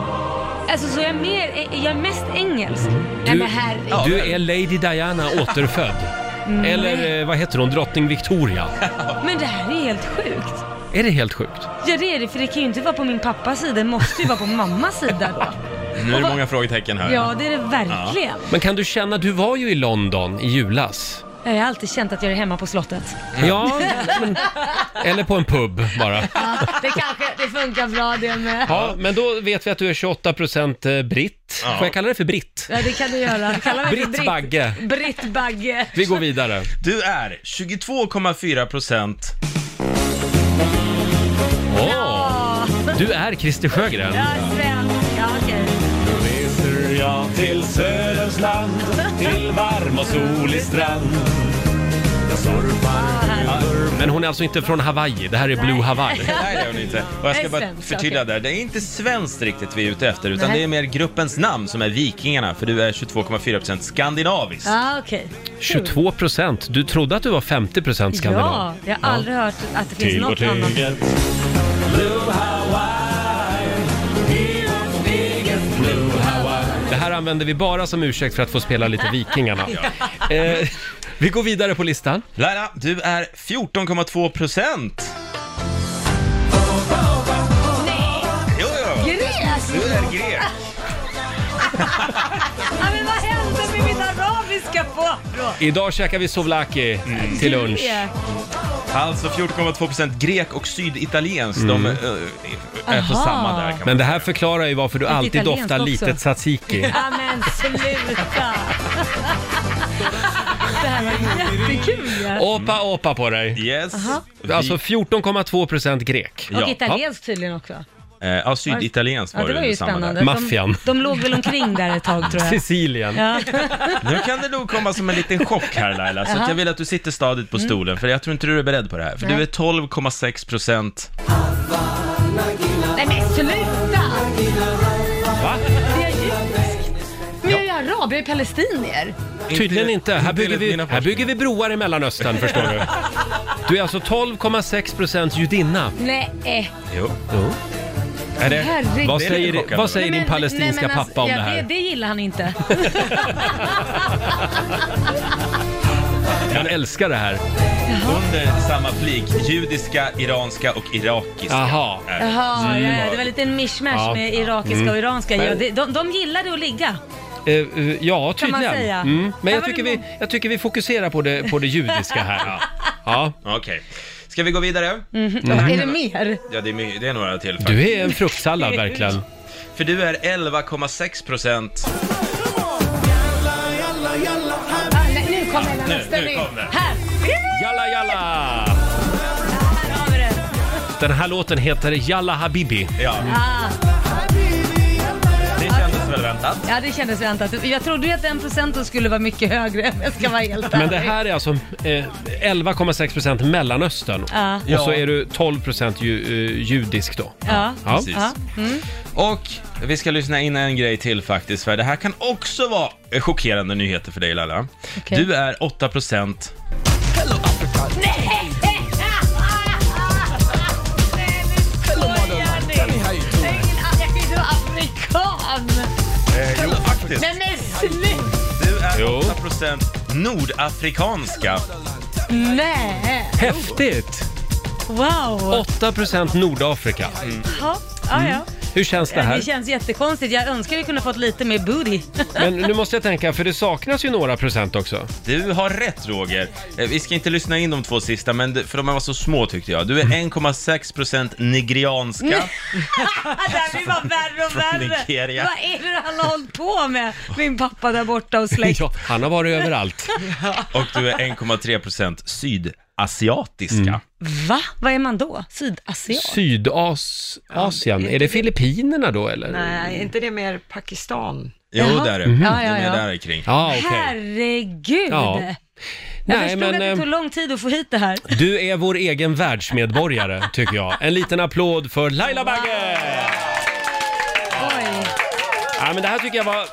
Alltså så jag är mer, är jag är mest engelsk? Nej men herregud. Mm. Ja, Mm. Du men- är Lady Diana återfödd. Eller eh, vad heter hon, drottning Victoria? Men det här är helt sjukt. Är det helt sjukt? Ja det är det, för det kan ju inte vara på min pappas sida, det måste ju vara på mammas sida då. Nu är det många frågetecken här. Ja det är det verkligen. Men kan du känna, du var ju i London i julas. Jag har alltid känt att jag är hemma på slottet. Mm. Ja, men, eller på en pub bara. Det kanske, det funkar bra det med. Ja, men då vet vi att du är 28 procent eh, britt. Ja. Får jag kalla dig för britt? Ja det kan du göra. Kalla mig för Britt Bagge. Britt Bagge. Vi går vidare. Du är 22,4 procent Åh, du är Christer Sjögren. Jag är svensk. Ja okej. Men hon är alltså inte från Hawaii, det här är Blue Hawaii. Nej, det är hon inte. Och jag Nej, ska bara svenskt, förtydliga där. Det är inte svenskt riktigt vi är ute efter, utan det är mer gruppens namn som är Vikingarna, för du är 22,4% skandinavisk. Ja okej. 22 procent, du trodde att du var 50 procent Ja, skandinav. jag har aldrig hört att det finns något annat. Det här använder vi bara som ursäkt för att få spela lite Vikingarna. Eh, vi går vidare på listan. Laila, du är 14,2%! Jo, jo, Grekland! du är grek. Ja, men vad hände med min arabiska porr? Idag käkar vi souvlaki Mm. till lunch. Alltså 14,2% grek och syditaliensk, Mm. de eh, är på Aha. samma där kan man Men det här förklarar ju varför du alltid italienskt doftar också. lite tzatziki. Ja men sluta! Det här var jättekul ja. Åpa, åpa på dig. Yes. Vi- Alltså 14,2 procent grek. ja. Och italienskt tydligen också. Eh, Ja, syditaliensk Ja, var det var ju samma där. spännande. Maffian. De, de låg väl omkring där ett tag tror jag. Sicilien. Ja. Nu kan det nog komma som en liten chock här Laila, så att jag vill att du sitter stadigt på Mm. stolen, för jag tror inte du är beredd på det här. För du är 12,6 procent. Nej men sluta! Det är judiskt. Men jag är ju arab, jag är palestinier. Tydligen inte. Här bygger, enligt vi, mina här bygger vi broar i Mellanöstern, förstår du. Du är alltså 12,6 procent judinna. Nej. eh. Jo. Jo. Är det? Herregud. Vad Det är lite säger, chockande. vad säger Nej, din men- palestinska nej, men alltså, pappa om ja, det Det, här? det gillar han inte. Jag älskar det här. Under samma flik, judiska, iranska och irakiska. Jaha. Är det. Jaha, ja, ja, det var lite en mishmash Ja. med irakiska och iranska. Ja, det- de, de gillade att ligga. Eh, eh, ja, Kan man tydligen. säga. Mm. Men Här jag var det tycker, vi, många- jag tycker vi fokuserar på det, på det judiska här. Ja. Okej. Ska vi gå vidare? Är det mer? Ja, det är, my- det är några till. faktiskt. Du är en fruktsallad verkligen. För du är 11,6 procent. Ah, nej, nu kommer Mellanöstern in. Här! Jalla jalla! Den här låten heter Jalla Habibi. Ja. Det kändes väl väntat. Ja, det kändes väntat. Jag trodde ju att den procenten skulle vara mycket högre om jag ska vara helt Men det ärlig. här är alltså eh, 11,6% Mellanöstern. Ja. Och så är du 12% ju, eh, judisk då. Ja. Ja. Precis. Ja. Och vi ska lyssna in en grej till faktiskt, för det här kan också vara chockerande nyheter för dig Laila. Okej. Du är 8 procent. Nej! Nej, nu skojar ni! Det är ingen an- Jag kan ju inte vara afrikan! Eh, jo, faktiskt. Nej men sluta! Du är 8% nordafrikanska. Nej! Häftigt! Wow! 8% Nordafrika. Ja, ja, ja. Hur känns det här? Det känns jättekonstigt. Jag önskar jag kunde fått lite mer booty. Men nu måste jag tänka, för det saknas ju några procent också. Du har rätt Roger. Eh, Vi ska inte lyssna in de två sista, men det- för de var så små tyckte jag. Du är Mm. 1,6% nigerianska. det här blir bara värre och Från värre. Nigeria. Vad är det han har hållit på med? Min pappa där borta och släkt. Ja, han har varit överallt. Och du är 1,3% sydasiatiska. Mm. Va? Vad är man då? Sydasiat? Sydasien, är det Filippinerna då eller? Nej, är inte det mer Pakistan? Jo, Jaha. där är Mhm. de. Ja, ja, De ja. är där kring. Ja, okej. Herregud! Ja. Jag Nej, förstod men, att det eh, tog lång tid att få hit det här. Du är vår egen världsmedborgare, tycker jag. En liten applåd för Laila Bagge! Oj. Ja, men det här tycker jag var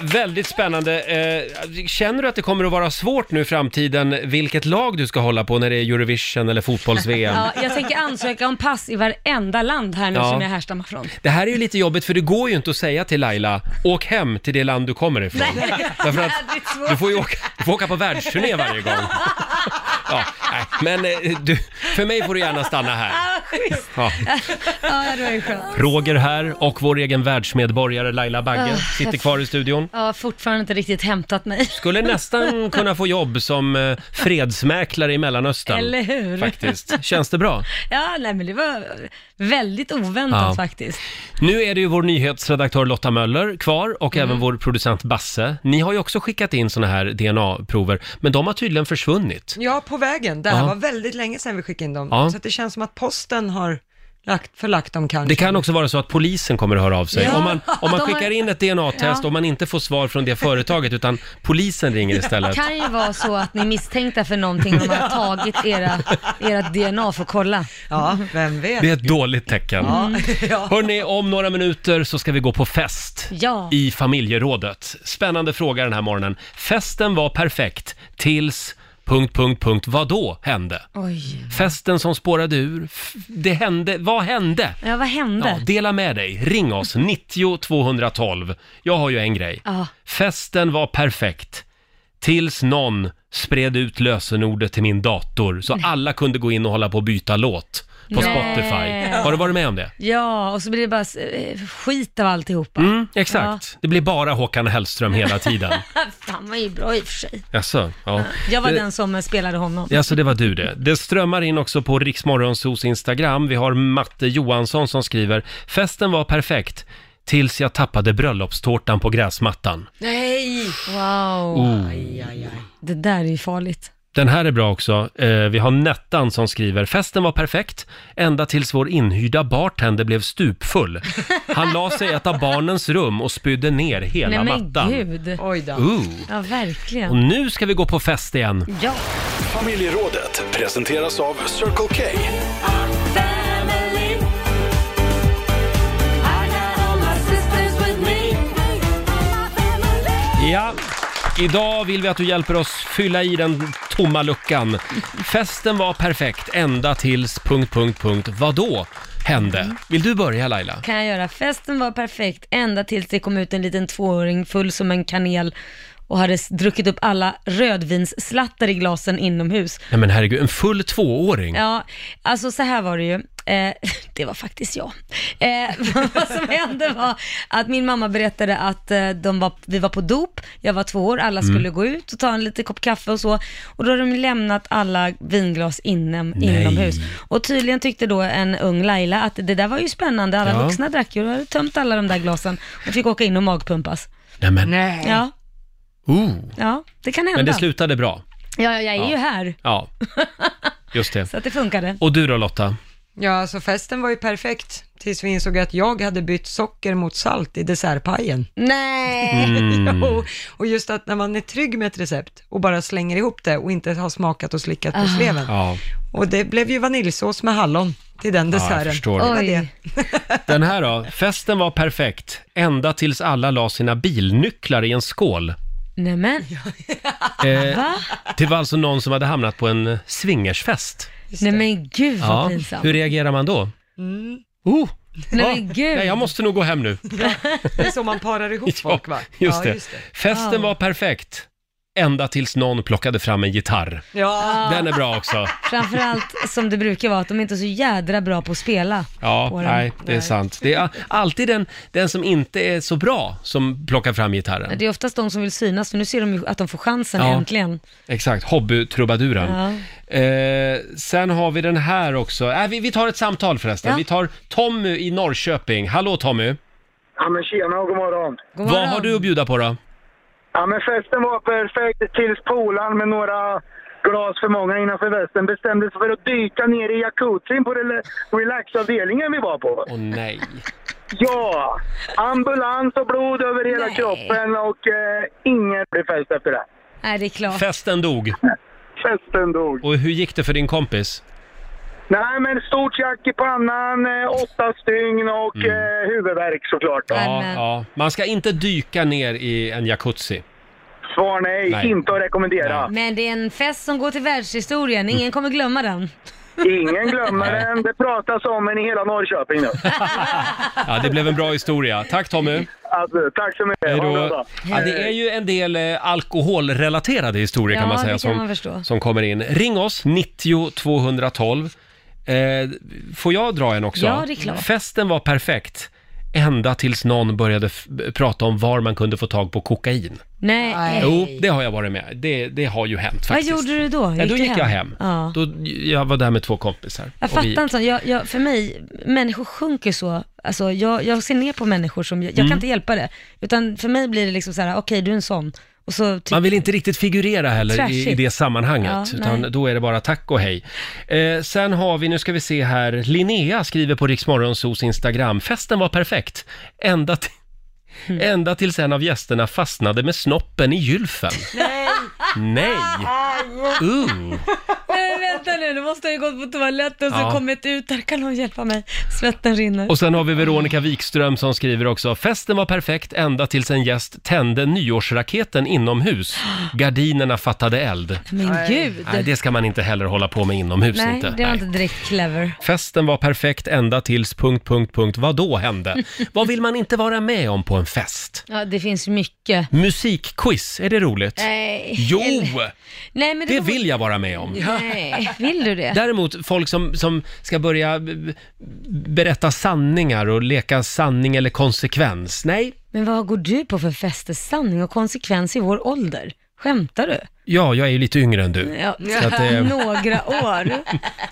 väldigt spännande. Eh, Känner du att det kommer att vara svårt nu i framtiden vilket lag du ska hålla på när det är Eurovision eller fotbolls-VM? Ja, jag tänker ansöka om pass i varenda land här nu Ja. som jag härstammar från. Det här är ju lite jobbigt för det går ju inte att säga till Laila, åk hem till det land du kommer ifrån. Därför att Det är svårt. du får ju åka, du får åka på världsturné varje gång. Ja, nej, men eh, du, för mig får du gärna stanna här. Ah, schysst. Ja. Ja, det var ju skönt. Roger här och vår egen världsmedborgare Laila Ah, Bagge sitter kvar i studion. Jag har fortfarande inte riktigt hämtat mig. Skulle nästan kunna få jobb som eh, fredsmäklare i Mellanöstern. Eller hur? Faktiskt. Känns det bra? Ja, nej men det var väldigt oväntat Ja. faktiskt. Nu är det ju vår nyhetsredaktör Lotta Möller kvar och Mm. även vår producent Basse. Ni har ju också skickat in såna här DNA-prover, men de har tydligen försvunnit. Ja, på vägen. Det här Ja. var väldigt länge sedan vi skickade in dem. Ja. Så att det känns som att posten har lagt, förlagt dem kanske. Det kan också vara så att polisen kommer att höra av sig. Ja. Om man, om man De har- skickar in ett DNA-test Ja. och man inte får svar från det företaget utan polisen ringer istället. kan ju vara så att ni är misstänkta för någonting och man har tagit era, era DNA för att kolla. Ja, vem vet. Det är ett dåligt tecken. Ja. Hörni, om några minuter så ska vi gå på fest Ja. i familjerådet. Spännande fråga den här morgonen. Festen var perfekt tills... Punkt, punkt, punkt. Vad då hände? Oj. Festen som spårade ur. F- Det hände. Vad hände? Ja, vad hände? Ja, dela med dig. Ring oss, 90 212. Jag har ju en grej. Ja. Festen var perfekt tills någon spred ut lösenordet till min dator så alla kunde gå in och hålla på och byta låt på Nej. Spotify. Har du varit med om det? Ja, och så blir det bara eh, skit av alltihopa. Mm, exakt. Det blir bara Håkan Hellström hela tiden. Fan var ju bra i och för sig. Jaså, ja. Jag var Det- den som eh, spelade honom. Alltså det var du det. Det strömmar in också på Riksmorgonsos Instagram. Vi har Matte Johansson som skriver “Festen var perfekt tills jag tappade bröllopstårtan på gräsmattan”. Nej! Wow. Det där är ju farligt. Den här är bra också. Eh, vi har Nettan som skriver “Festen var perfekt ända tills vår inhyrda bartender blev stupfull. Han la sig i ett av barnens rum och spydde ner hela Nej men mattan.” gud. Oj då. Ooh. Ja, verkligen. Och nu ska vi gå på fest igen. Ja. Familjerådet presenteras av Circle K. Ja, idag vill vi att du hjälper oss fylla i den tomma luckan. Festen var perfekt ända tills... Punkt, punkt, punkt. Vad då hände? Vill du börja Laila? Kan jag göra. Festen var perfekt ända tills det kom ut en liten tvååring full som en kanel och hade s- druckit upp alla rödvinsslattar i glasen inomhus. Nej men herregud, en full tvååring. Ja, alltså så här var det ju. Eh, det var faktiskt jag. Eh, vad som hände var att min mamma berättade att eh, de var, vi var på dop, jag var två år, alla Mm. skulle gå ut och ta en liten kopp kaffe och så. Och då hade de lämnat alla vinglas inom, Nej. inomhus. Och tydligen tyckte då en ung Laila att det där var ju spännande, alla Ja. vuxna drack ju och hade tömt alla de där glasen och fick åka in och magpumpas. Nej men, Nej. Ja, oh. ja det kan hända. Men det slutade bra. ja, ja, jag är Ja. Mm. ju här, Ja, just det. så att det funkade. Och du då Lotta? Ja, alltså festen var ju perfekt tills vi insåg att jag hade bytt socker mot salt i dessertpajen. Nej! Mm. Jo, och just att när man är trygg med ett recept och bara slänger ihop det och inte har smakat och slickat på sleven. Ja, Och det blev ju vaniljsås med hallon till den desserten. jag förstår. Det var Oj. det. Den här då? Festen var perfekt ända tills alla la sina bilnycklar i en skål. Nämen, Eh, va? det var alltså någon som hade hamnat på en swingersfest. Nej men gud vad Ja. pinsamt. Hur reagerar man då? Oh, Nej ja. men gud. Nej, jag måste nog gå hem nu. Det är så man parar ihop folk va? just ja, det. just det. Festen var perfekt. Ända tills någon plockade fram en gitarr. Ja, Den är bra också. Framförallt som det brukar vara, att de inte är så jädra bra på att spela. Ja, På den. nej, det är sant. Det är a- alltid den, den som inte är så bra som plockar fram gitarren. Det är oftast de som vill synas, för nu ser de ju att de får chansen Ja. äntligen. Exakt, hobbytrubaduren. Eh, sen har vi den här också. Äh, vi, vi tar ett samtal förresten. Ja. Vi tar Tommy i Norrköping. Hallå Tommy! Ja men tjena och god morgon. God Vad morgon. har du att bjuda på då? Ja men festen var perfekt tills polaren med några glas för många innanför västen bestämde sig för att dyka ner i jacuzzin på rela- relaxavdelningen vi var på. Åh nej. Ja! Ambulans och blod över hela Nej. kroppen och eh, ingen blev fest efter det. Nej, det är klart. Festen dog. Festen dog. Och hur gick det för din kompis? Nej men stort jack i pannan, eh, åtta stygn och Mm. eh, huvudvärk såklart. Då. Ja, Amen. ja. Man ska inte dyka ner i en jacuzzi. Svar nej, Nej. inte att rekommendera. Men det är en fest som går till världshistorien, Mm. ingen kommer glömma den. Ingen glömmer Nej. den. Det pratas om en i hela Norrköping nu. Ja, det blev en bra historia. Tack Tommy! Alltså, tack så mycket. Hej Ha då. en bra dag. Ja, det är ju en del eh, alkoholrelaterade historier kan Ja, man säga det kan som, man förstå. som kommer in. Ring oss, 90 212. Eh, får jag dra en också? Ja, det är klart. Festen var perfekt. Ända tills någon började f- prata om var man kunde få tag på kokain. Nej. Jo, det har jag varit med Det, det har ju hänt Vad faktiskt. gjorde du då? Ja, då du gick jag hem. Ja. Då, jag var där med två kompisar. Jag Och vi- fattar inte, jag, jag, för mig, människor sjunker så, alltså jag, jag ser ner på människor som, jag, jag Mm. kan inte hjälpa det. Utan för mig blir det liksom så här: okej du är en sån. Och så typ, Man vill inte riktigt figurera heller i, Trashigt. i det sammanhanget, Ja, utan nej. då är det bara tack och hej. Eh, sen har vi, nu ska vi se här, Linnea skriver på Riksmorgonsos Instagram, festen var perfekt, ända, till- Mm. ända tills en av gästerna fastnade med snoppen i gylfen. Nej! Nej! Uh. nej vänta nu, nu måste jag ju gått på toaletten och Ja. så kommit ut, där kan någon hjälpa mig. Svetten rinner. Och sen har vi Veronica Wikström som skriver också, festen var perfekt ända tills en gäst tände nyårsraketen inomhus, gardinerna fattade eld. Men gud. Nej, det ska man inte heller hålla på med inomhus. Nej, inte. det var inte direkt clever. Festen var perfekt ända tills... Punkt, punkt, punkt. Vad då hände? Vad vill man inte vara med om på en fest? Ja, det finns mycket. Musikquiz, är det roligt? Nej. Jo! Nej, men Det var- vill jag vara med om. Nej, vill du det? Däremot folk som, som ska börja b- berätta sanningar och leka sanning eller konsekvens. Nej, Men vad går du på för fäste, sanning och konsekvens i vår ålder? Skämtar du? ja, jag är ju lite yngre än du. Ja, Så att det- Mm. några år.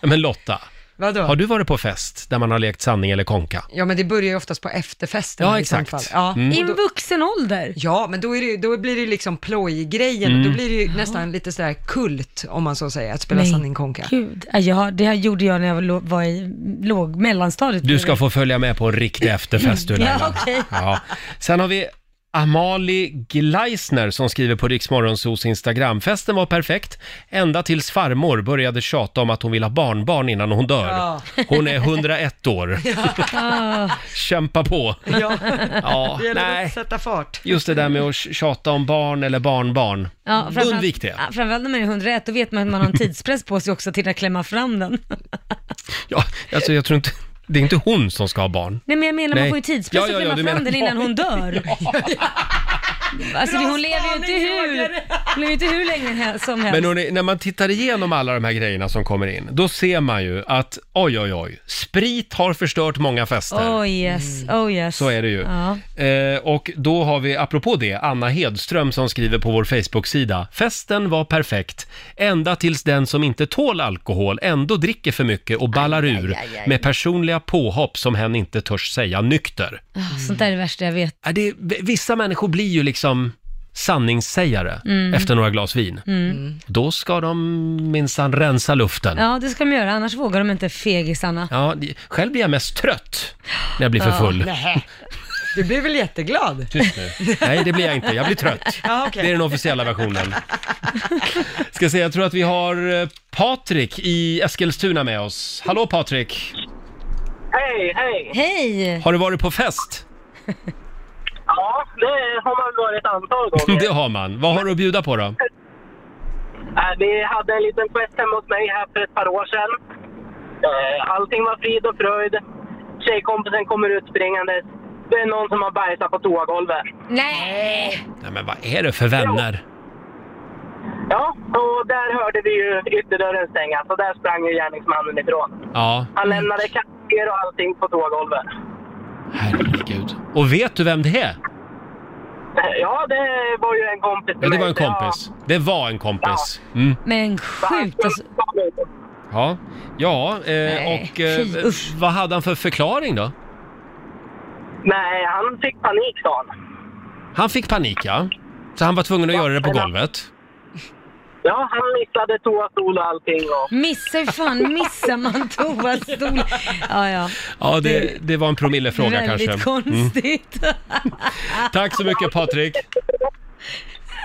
Men Lotta, vadå? har du varit på fest där man har lekt sanning eller konka? Ja, men det börjar ju oftast på efterfesten Ja, i sånt exakt. Mm. fall. Ja, I en vuxen ålder. Ja, men då, är det, ju- då blir det ju liksom plojgrejen. Mm. Då blir det ju nästan lite sådär kult, om man så säger, att spela Men sanning konka. Gud, ja, jag, det här gjorde jag när jag var lo- var i låg mellanstadiet. Du ska få följa med på en riktig efterfest du Laila. Ja, okej. Ja. Sen har vi Amalie Gleisner som skriver på Riksmorgonsos Instagram. Festen var perfekt, ända tills farmor började tjata om att hon vill ha barnbarn innan hon dör. Ja. Hon är 101 år. Ah, Kämpa på! Ja, Ja, det gäller nej. att sätta fart. Just det där med att tjata om barn eller barnbarn. ja, framförallt- Mm. Undvik det. Ja, framförallt när man är 101, då vet man att man har en tidspress på sig också till att klämma fram den. Ja, alltså jag tror inte... Det är inte hon som ska ha barn. Nej men jag menar, Nej. man får ju tidspress Ja, ja, att ja, klämma du fram menar- den innan hon dör. Alltså Bra hon lever ju inte spaning, hur, Roger. hon lever ju inte hur länge he- som helst. Men hörni, när man tittar igenom alla de här grejerna som kommer in, då ser man ju att oj, oj, oj, sprit har förstört många fester. Oh yes, oh yes. Mm. Så är det ju. Ja. Eh, och då har vi, apropå det, Anna Hedström som skriver på vår Facebook-sida. Festen var perfekt, ända tills den som inte tål alkohol ändå dricker för mycket och ballar ur med personliga påhopp som hen inte törs säga nykter. Ah, Sånt där är det värsta jag vet. Ja, Äh, Det, är- vissa människor blir ju liksom sanningssägare efter några glas vin. Då ska de minsann rensa luften. Ja det ska de göra, annars vågar de inte fegisarna. Ja, det- själv blir jag mest trött när jag blir för full. Nej. Du blir väl jätteglad? Tyst nu. Nej, det blir jag inte. Jag blir trött. Ja, Det är okej. den officiella versionen. Ska se, jag tror att vi har eh, Patrik i Eskilstuna med oss. Hallå Patrik! Hej, hej! Hej! Har du varit på fest? Ja, det har man varit ett antal gånger. Det har man. Vad har du att bjuda på då? Eh, Vi hade en liten fest hemma hos mig här för ett par år sedan. Eh, Allting var frid och fröjd. Tjejkompisen kommer ut springandes. Det är någon som har bajsat på toagolvet. Nej! Nej, men vad är det för vänner? Ja, och där hörde vi ju ytterdörren stängas och där sprang ju gärningsmannen ifrån. Ja, Han lämnade kaféer och allting på toagolvet. herregud. Och vet du vem det är? Eh, Ja, det var ju en kompis Ja, till det var mig. en kompis. Det var en kompis. Mm. Men sjukt alltså. Ja, ja eh, Nej, och eh, fy, vad hade han för förklaring då? Nej, han fick panik sa han. Han fick panik ja. Så han var tvungen att göra det på golvet. Ja, han missade toastol och allting. Och... Missar hur fan missar man toastol? Ja, ja. Ja, det, det var en promillefråga Väldigt kanske. Mm. konstigt. Tack så mycket Patrik.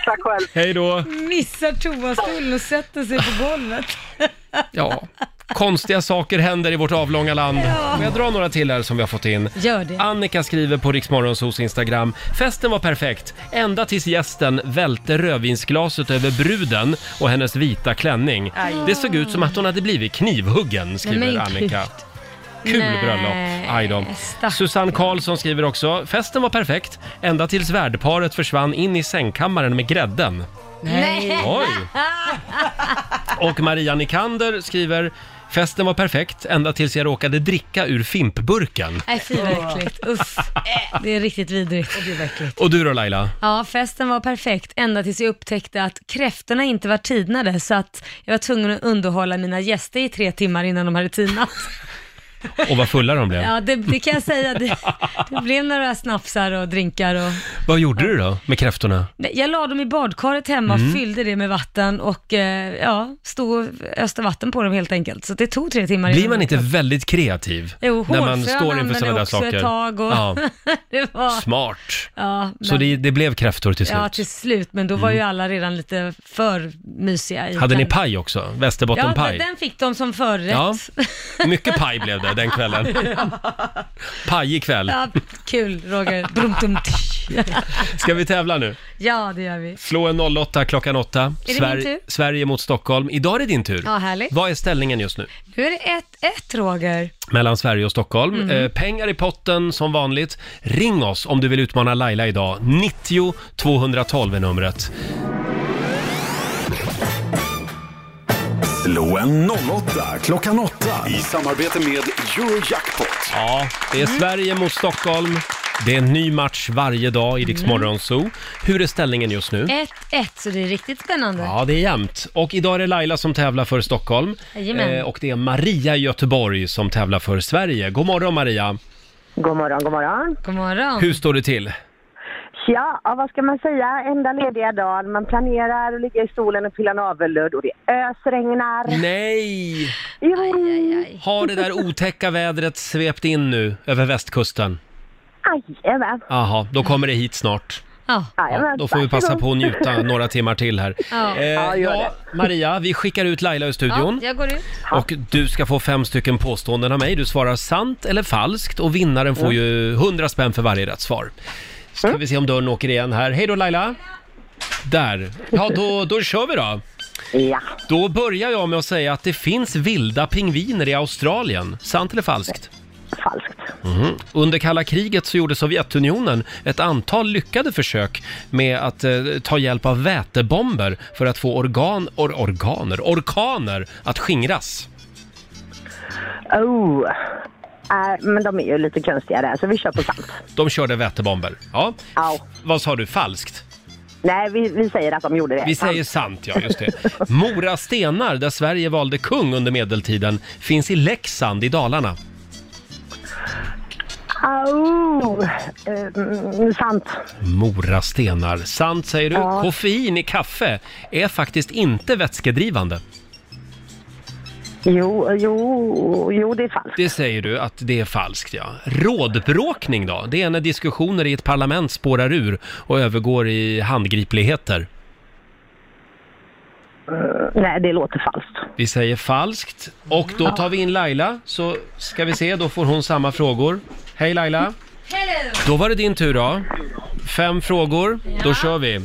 Tack själv. Hej då. Missar toastolen och sätter sig på golvet. Ja, konstiga saker händer i vårt avlånga land. Ja. Får jag dra några till här som vi har fått in? Gör det. Annika skriver på Riksmorgonsos Instagram. Festen var perfekt, ända tills gästen välte rödvinsglaset över bruden och hennes vita klänning. Aj. Det såg ut som att hon hade blivit knivhuggen, skriver Nej, men Annika. Kul Nej, bröllop. Aj då. Susanne Karlsson skriver också. Festen var perfekt, ända tills värdparet försvann in i sängkammaren med grädden. Nej! Oj. Och Maria Nikander skriver Festen var perfekt ända tills jag råkade dricka ur fimpburken. Nej, fy vad äckligt. Uff. Det är riktigt vidrigt. Och det är äckligt. Och du då Laila? Ja, festen var perfekt ända tills jag upptäckte att kräftorna inte var tinade så att jag var tvungen att underhålla mina gäster i tre timmar innan de hade tinat. Och vad fulla de blev. Ja, det, det kan jag säga. Det, det blev några snapsar och drinkar och... Vad gjorde du då med kräftorna? Nej, Jag la dem i badkaret hemma och Mm. fyllde det med vatten och eh, ja, stod och öste vatten på dem helt enkelt. Så det tog tre timmar Blir innan man de- inte väldigt kreativ? Jo, när man hårfrön står inför använde sådana där också saker. ett tag och Ja, det var... smart. Ja, Så men- det, det blev kräftor till slut. Ja, till slut. Men då var ju alla redan lite för mysiga. I Mm. Hade ni kläderna. paj också? Ja, Västerbottenpaj? men den fick de som förrätt. Ja, mycket paj blev det den kvällen. Pajig kväll. Ja, kul Roger. Brumtum. Ska vi tävla nu? Ja, det gör vi. Slå en 08 klockan 8. Är det min tur? Sverige mot Stockholm. Idag är det din tur. Ja, härligt. Vad är ställningen just nu? Nu är det 1-1 Roger. Mellan Sverige och Stockholm. Mm. Eh, pengar i potten som vanligt. Ring oss om du vill utmana Laila idag. 90 212 är numret. Slå en 08 klockan 8 i samarbete med Eurojackpot. Ja, Det är Sverige mot Stockholm. Det är en ny match varje dag i Rix Mm. mm. Zoo. Hur är ställningen just nu? 1-1, så det är riktigt spännande. Ja, det är jämnt. Och idag är det Laila som tävlar för Stockholm. Eh, Jajamän. och det är Maria i Göteborg som tävlar för Sverige. God morgon Maria! God morgon, god morgon. God morgon. Hur står det till? Ja, ja, vad ska man säga? Enda lediga dagen. Man planerar att ligga i solen och pilla navelludd och det ösregnar. Nej! Jo. Har det där otäcka vädret svept in nu över västkusten? Jajamän. Jaha, då kommer det hit snart. Ja. Ja, då får vi passa på att njuta några timmar till här. Ja. Eh, Ja, gör ja, Maria, vi skickar ut Laila ur studion. Ja, jag går ut. Och du ska få fem stycken påståenden av mig. Du svarar sant eller falskt och vinnaren får ju 100 spänn för varje rätt svar. Ska Mm. vi se om dörren åker igen här. Hej då Laila! Där. Ja, då, då kör vi då. Ja. Då börjar jag med att säga att det finns vilda pingviner i Australien. Sant eller falskt? Falskt. Mhm. Under kalla kriget så gjorde Sovjetunionen ett antal lyckade försök med att eh, ta hjälp av vätebomber för att få organ, or, organer, orkaner att skingras. Oh. Äh, men de är ju lite konstiga där, så vi kör på sant. De körde vätebomber. Ja. Au. Vad sa du, falskt? Nej, vi, vi säger att de gjorde det. Vi säger sant, ja just det. Mora stenar, där Sverige valde kung under medeltiden, finns i Leksand i Dalarna. Au. Eh, mm, sant. Mora stenar, sant säger du. Ja. Koffein i kaffe är faktiskt inte vätskedrivande. Jo, jo, jo, det är falskt. Det säger du att det är falskt, ja. Rådbråkning då? Det är när diskussioner i ett parlament spårar ur och övergår i handgripligheter. Eh, nej, det låter falskt. Vi säger falskt. Och då tar vi in Laila, så ska vi se, då får hon samma frågor. Hej Laila! Hello. Då var det din tur då. Fem frågor, då kör vi.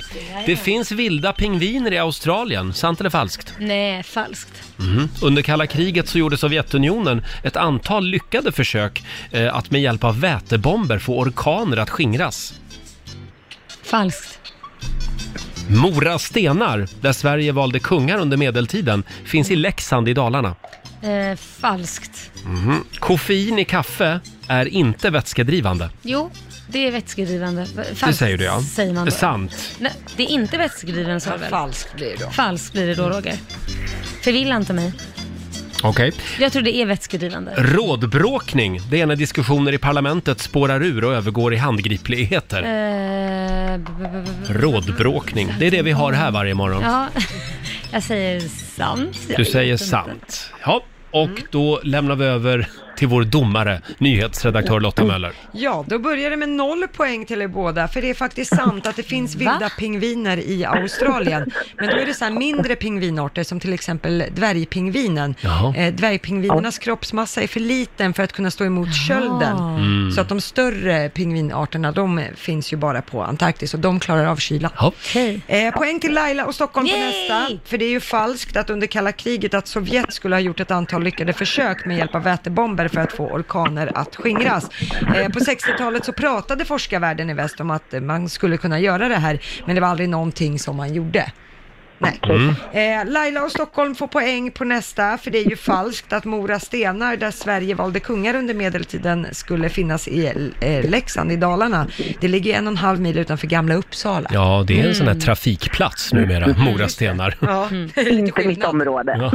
Det finns vilda pingviner i Australien, sant eller falskt? Nej, falskt. Mhm. Under kalla kriget så gjorde Sovjetunionen ett antal lyckade försök eh, att med hjälp av vätebomber få orkaner att skingras. Falskt. Mora stenar, där Sverige valde kungar under medeltiden, finns i Leksand i Dalarna. Eh, falskt. Mhm. Koffein i kaffe är inte vätskedrivande. Jo, det är vätskedrivande. Va- Falskt det säger du ja. säger man Det då. är sant. Nej, det är inte vätskedrivande sa jag väl? Falskt blir det då. Falskt blir det då, Roger. Förvilla inte mig. Okej. Jag tror det är vätskedrivande. Rådbråkning, det är när diskussioner i parlamentet spårar ur och övergår i handgripligheter. Eh, b- b- b- b- Rådbråkning, det är det vi har här varje morgon. Ja, jag säger sant. Jag Du vet säger inte. sant. Ja, och Mm. då lämnar vi över till vår domare, nyhetsredaktör Lotta Möller. Ja, då börjar det med noll poäng till er båda, för det är faktiskt sant att det finns vilda pingviner i Australien. Men då är det så här mindre pingvinarter, som till exempel dvärgpingvinen. Jaha. Eh, dvärgpingvinernas kroppsmassa är för liten för att kunna stå emot kölden. Mm. Så att de större pingvinarterna, de finns ju bara på Antarktis och de klarar av kyla. Eh, poäng till Laila och Stockholm på nästa. För det är ju falskt att under kalla kriget att Sovjet skulle ha gjort ett antal lyckade försök med hjälp av vätebomber för att få orkaner att skingras. Eh, på 60-talet så pratade forskarvärlden i väst om att eh, man skulle kunna göra det här, men det var aldrig någonting som man gjorde. Mm. Eh, Laila och Stockholm får poäng på nästa, för det är ju falskt att Mora stenar, där Sverige valde kungar under medeltiden, skulle finnas i eh, Leksand i Dalarna. Det ligger en och en halv mil utanför Gamla Uppsala. Ja, det är en sån Mm. här trafikplats numera, Mora stenar. Ja, det är lite skillnad. Mitt område.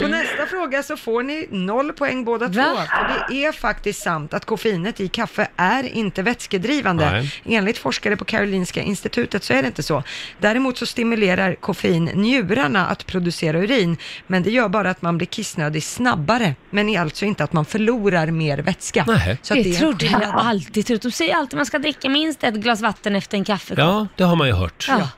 På nästa fråga så får ni noll poäng båda två. För det är faktiskt sant att koffeinet i kaffe är inte vätskedrivande. Nej. Enligt forskare på Karolinska institutet så är det inte så. Däremot så stimulerar koffein njurarna att producera urin, men det gör bara att man blir kissnödig snabbare, men är alltså inte att man förlorar mer vätska. Så att det, är en trodde jag skillnad. alltid. trott. De säger alltid att man ska dricka minst ett glas vatten efter en kaffe. Ja, det har man ju hört. Ja.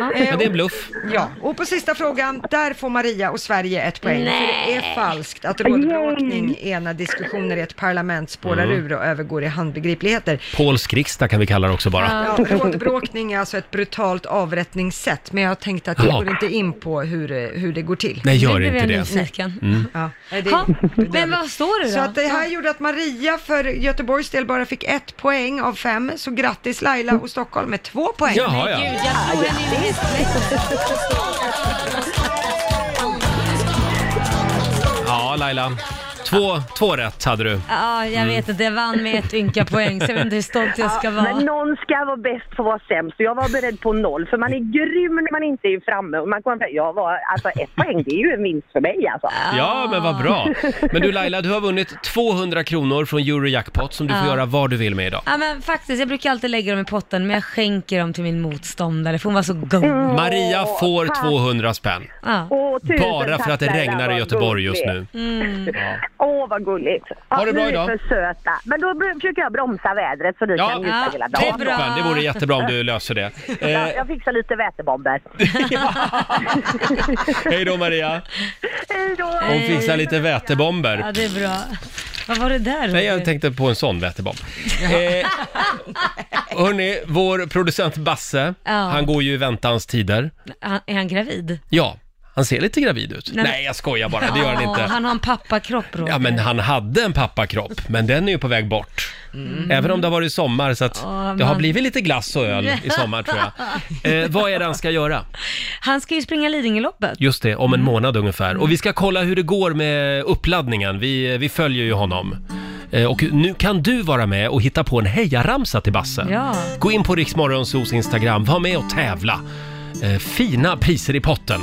Men det är en bluff. Ja, och på sista frågan, där får Maria och Sverige ett poäng. För det är falskt att rådbråkning är när diskussioner i ett parlament spårar Mm. ur och övergår i handbegripligheter. Polsk riksdag kan vi kalla det också bara. Ja, rådbråkning är alltså ett brutalt avrättningssätt, men jag tänkte att jag Ja. går inte in på hur, hur det går till. Nej, gör Nu blev inte jag det. nyfiken. Mm. Ja, nej, det Ha, men vad står det Så då? att det här gjorde att Maria för Göteborgs del bara fick ett poäng av fem, så grattis Laila och Stockholm med två poäng. Jaha, ja. Men gud, jag tror henne i Ja, Laila. Två, två rätt hade du. Ja, jag Mm. vet inte. Jag vann med ett ynka poäng, så jag vet inte hur stolt jag ska Ja, vara. Men någon ska vara bäst för att vara sämst. Så Jag var beredd på noll, för man är grym när man inte är framme. Och man kommer, jag var, alltså ett poäng, det är ju en vinst för mig alltså. Ja, men vad bra. Men du Laila, du har vunnit 200 kronor från Eurojackpot som du får Ja. göra vad du vill med idag. Ja men faktiskt, jag brukar alltid lägga dem i potten men jag skänker dem till min motståndare för hon var så god. Mm. Maria får 200 spänn. Ja. Bara för att det regnar i Göteborg just nu. Mm. Åh, vad gulligt. Ha det bra ni är idag. för söta. Men då br- försöker jag bromsa vädret så ni Ja, kan njuta hela dagen. Toppen, det vore jättebra om du löser det. Ja, Eh, jag fixar lite vätebomber. hej då Maria. Hej då! Hon fixar lite Ja vätebomber. det är bra. Vad var det där Nej, Roger? jag tänkte på en sån vätebomb. Eh, hörni, vår producent Basse, Ja. han går ju i väntans tider. han, Är han gravid? Ja, han ser lite gravid ut. Nej, men- Nej, jag skojar bara, det gör han Ja, inte. Han har en pappakropp Roger. Ja, men han hade en pappakropp, men den är ju på väg bort. Även om det har varit sommar, så att Mm. Ja, det har man- blivit lite glass och öl i sommar tror jag. Eh, vad är det han ska göra? Han ska ju springa Lidingöloppet. Just det, om en Mm. månad ungefär. Och vi ska kolla hur det går med uppladdningen. Vi, vi följer ju honom. Eh, Och nu kan du vara med och hitta på en hejaramsa till Basse. Ja. Gå in på Riksmorgonsos Instagram, var med och tävla. Eh, Fina priser i potten.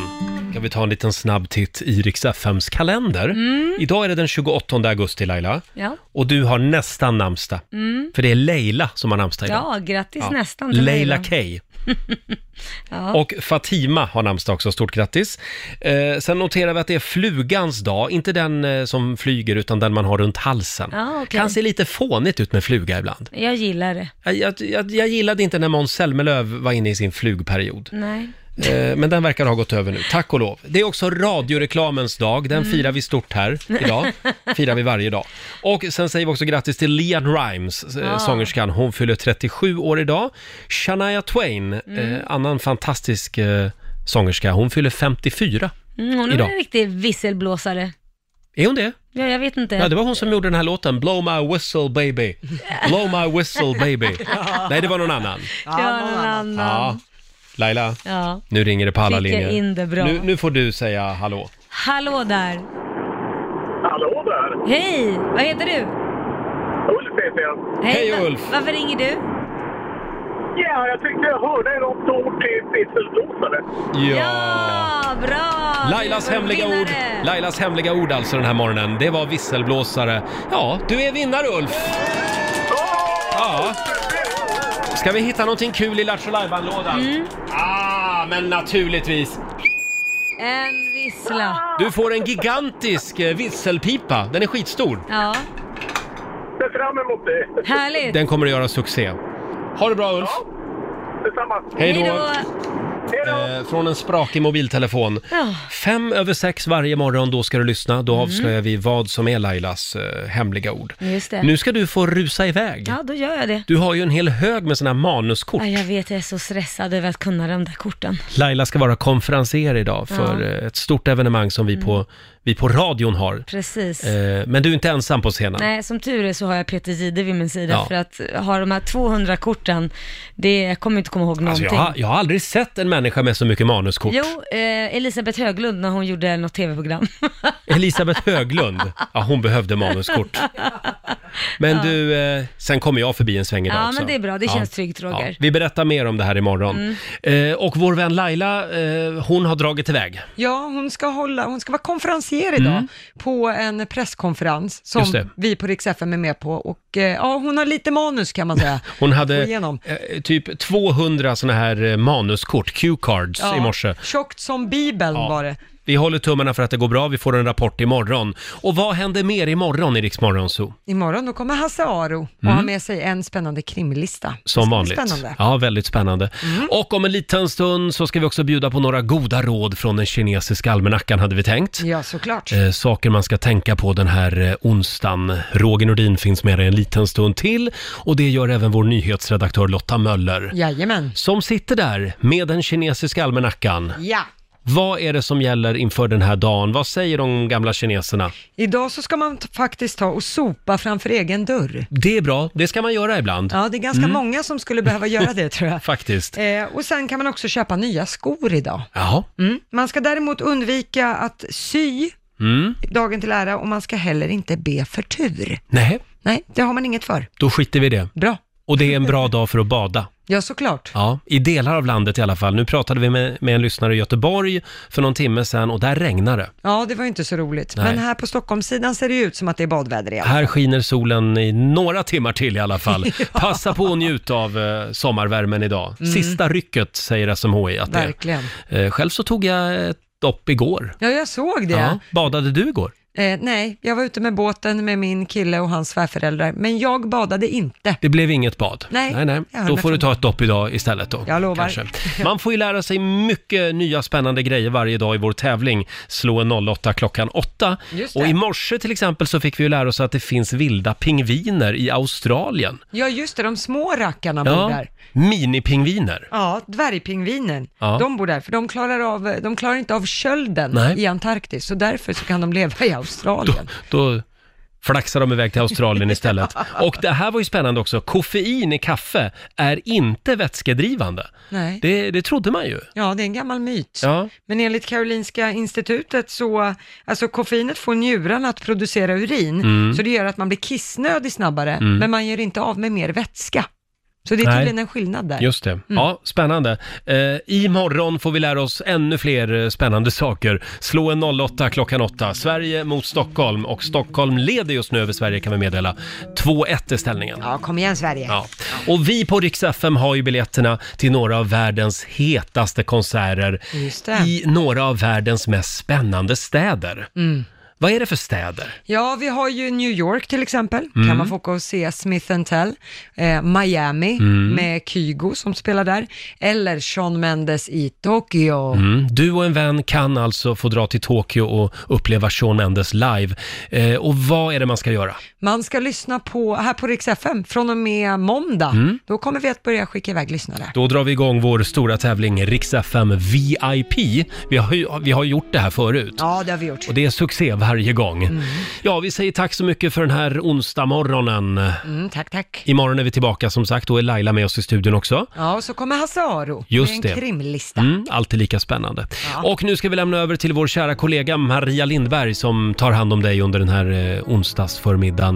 Ska vi ta en liten snabb titt i Rix FMs kalender. Mm. Idag är det den 28 augusti Laila. Ja. Och du har nästan namnsdag. Mm. För det är Leila som har namnsdag idag. Ja, grattis Ja. nästan till mig Leila då. Kay. Ja. Och Fatima har namnsdag också, stort grattis. Eh, sen noterar vi att det är flugans dag, inte den eh, som flyger utan den man har runt halsen. Ja, okej. Kan se lite fånigt ut med fluga ibland. Jag gillar det. Jag, jag, jag, jag gillade inte när Måns Zelmerlöw var inne i sin flugperiod. Nej. Eh, Men den verkar ha gått över nu, tack och lov. Det är också radioreklamens dag, den Mm. firar vi stort här idag. Firar vi varje dag. Och sen säger vi också grattis till Leanne Rimes, eh, Ah. sångerskan. Hon fyller 37 år idag. Shania Twain, Mm. eh, annan fantastisk eh, sångerska, hon fyller 54 Mm, hon är idag. en riktig visselblåsare. Är hon det? Ja, jag vet inte. Ja, det var hon som gjorde den här låten, Blow My Whistle Baby. Blow My Whistle Baby. Nej, det var någon annan. Det var någon Ja. annan. Laila, Ja. nu ringer det på alla Fick jag linjer. in det bra. Nu, nu får du säga hallå. Hallå där. Hallå där! Hej, vad heter du? Ulf heter jag. Hej, va- Varför ringer du? Ja, jag tyckte jag hörde något ord till visselblåsare. Ja! bra! Lailas Du är hemliga vinnare. ord. Lailas hemliga ord alltså den här morgonen. Det var visselblåsare. Ja, du är vinnare Ulf. Ja. Ska vi hitta någonting kul i Lattjo lådan Ah, men naturligtvis. En vissla. Du får en gigantisk eh, visselpipa. Den är skitstor. Ja. Ser fram emot det. Härligt. Den kommer att göra succé. Ha det bra Ulf. Detsamma. Hej då. Eh, från en sprakig mobiltelefon. Ja. Fem över sex varje morgon, då ska du lyssna. Då Mm. avslöjar vi vad som är Lailas eh, hemliga ord. Just det. Nu ska du få rusa iväg. Ja, då gör jag det. Du har ju en hel hög med såna här manuskort. Ja, jag vet, jag är så stressad över att kunna de där korten. Laila ska vara konferenser idag för Ja. eh, ett stort evenemang som vi, Mm. på, vi på radion har. Precis. Eh, Men du är inte ensam på scenen. Nej, som tur är så har jag Peter Jihde vid min sida Ja. för att ha de här 200 korten, det jag kommer inte komma ihåg Alltså någonting. jag, har, jag har aldrig sett en människa med så mycket manuskort. Jo, eh, Elisabeth Höglund när hon gjorde något tv-program. Elisabeth Höglund, ja, hon behövde manuskort. Men Ja. du, eh, sen kommer jag förbi en sväng idag Ja, också. men det är bra. Det känns tryggt, Roger. Mm. Vi berättar mer om det här imorgon. Eh, och vår vän Laila, eh, hon har dragit iväg. Ja, hon ska, hålla, hon ska vara konferencier idag på en presskonferens Mm. Just som det. vi på Rix FM är med på. Och eh, ja, hon har lite manus kan man säga. Hon Gå hade igenom. eh, typ 200 såna här eh, manuskort, Q-cards, Ja, i morse. Tjockt som Bibeln var det. Vi håller tummarna för att det går bra, vi får en rapport imorgon. Och vad händer mer imorgon i Rix Morgon Zoo? Imorgon då kommer Hasse Aro och Mm. har med sig en spännande krimlista. Det ska Som bli vanligt. Spännande. Mm. Ja, väldigt spännande. Och om en liten stund så ska vi också bjuda på några goda råd från den kinesiska almanackan hade vi tänkt. Ja, såklart. Eh, saker man ska tänka på den här eh, onsdagen. Roger Nordin finns med dig en liten stund till och det gör även vår nyhetsredaktör Lotta Möller. Jajamän. Som sitter där med den kinesiska almanackan. Ja. Vad är det som gäller inför den här dagen? Vad säger de gamla kineserna? Idag så ska man t- faktiskt ta och sopa framför egen dörr. Det är bra, det ska man göra ibland. Ja, det är ganska Mm. många som skulle behöva göra det tror jag. Faktiskt. Eh, och sen kan man också köpa nya skor idag. Jaha. Mm. Man ska däremot undvika att sy Mm. dagen till ära och man ska heller inte be för tur. Nej, Nej, det har man inget för. då skiter vi i det. Bra. Och det är en bra dag för att bada. Ja, såklart. Ja, i delar av landet i alla fall. Nu pratade vi med, med en lyssnare i Göteborg för någon timme sedan och där regnade det. Ja, det var ju inte så roligt. Nej. Men här på Stockholmssidan ser det ju ut som att det är badväder igen. Här skiner solen i några timmar till i alla fall. Passa på att njuta av eh, sommarvärmen idag. Mm. Sista rycket säger SMHI att det Verkligen. är. Eh, själv så tog jag ett dopp igår. Ja, jag såg det. Ja, badade du igår? Eh, nej, jag var ute med båten med min kille och hans svärföräldrar, men jag badade inte. Det blev inget bad. Nej, nej, jag hör Då mig får du från- ta ett dopp idag istället då. Jag lovar. Man får ju lära sig mycket nya spännande grejer varje dag i vår tävling Slå en 08 klockan 8. Just det. Och i morse till exempel så fick vi ju lära oss att det finns vilda pingviner i Australien. Ja, just det, de små rackarna bor Ja, där. minipingviner. Ja, dvärgpingvinen. Ja. De bor där, för de klarar, av, de klarar inte av kölden Nej. i Antarktis, så därför så kan de leva i Australien. Då flaxar de iväg till Australien istället. Och det här var ju spännande också. Koffein i kaffe är inte vätskedrivande. Nej. Det, det trodde man ju. Ja, det är en gammal myt. Ja. Men enligt Karolinska institutet så, alltså koffeinet får njurarna att producera urin, Mm. så det gör att man blir kissnödig snabbare, Mm. men man gör inte av med mer vätska. Så det är Nej. tydligen en skillnad där. Just det. Ja, spännande. Eh, imorgon får vi lära oss ännu fler eh, spännande saker. Slå en 08 klockan 8. Sverige mot Stockholm och Stockholm leder just nu över Sverige kan vi meddela. 2-1 är ställningen. Ja, kom igen Sverige. Ja. Och vi på Rix FM har ju biljetterna till några av världens hetaste konserter Just det. i några av världens mest spännande städer. Mm. Vad är det för städer? Ja, vi har ju New York till exempel, Mm. kan man få åka och se Smith Tell. Eh, Miami Mm. med Kygo som spelar där. Eller Sean Mendes i Tokyo. Mm. Du och en vän kan alltså få dra till Tokyo och uppleva Shawn Mendes live. Eh, och vad är det man ska göra? Man ska lyssna på, här på Rix FM från och med måndag. Mm. Då kommer vi att börja skicka iväg lyssnare. Då drar vi igång vår stora tävling Rix FM VIP. Vi har ju vi har gjort det här förut. Ja, det har vi gjort. Och det är succé varje gång. Ja, vi säger tack så mycket för den här onsdagmorgonen. Mm, tack, tack. Imorgon är vi tillbaka som sagt, då är Laila med oss i studion också. Ja, och så kommer Hasse Aro Just med det. en krimlista. Mm, alltid lika spännande. Och nu ska vi lämna över till vår kära kollega Maria Lindberg som tar hand om dig under den här eh, onsdagsförmiddagen.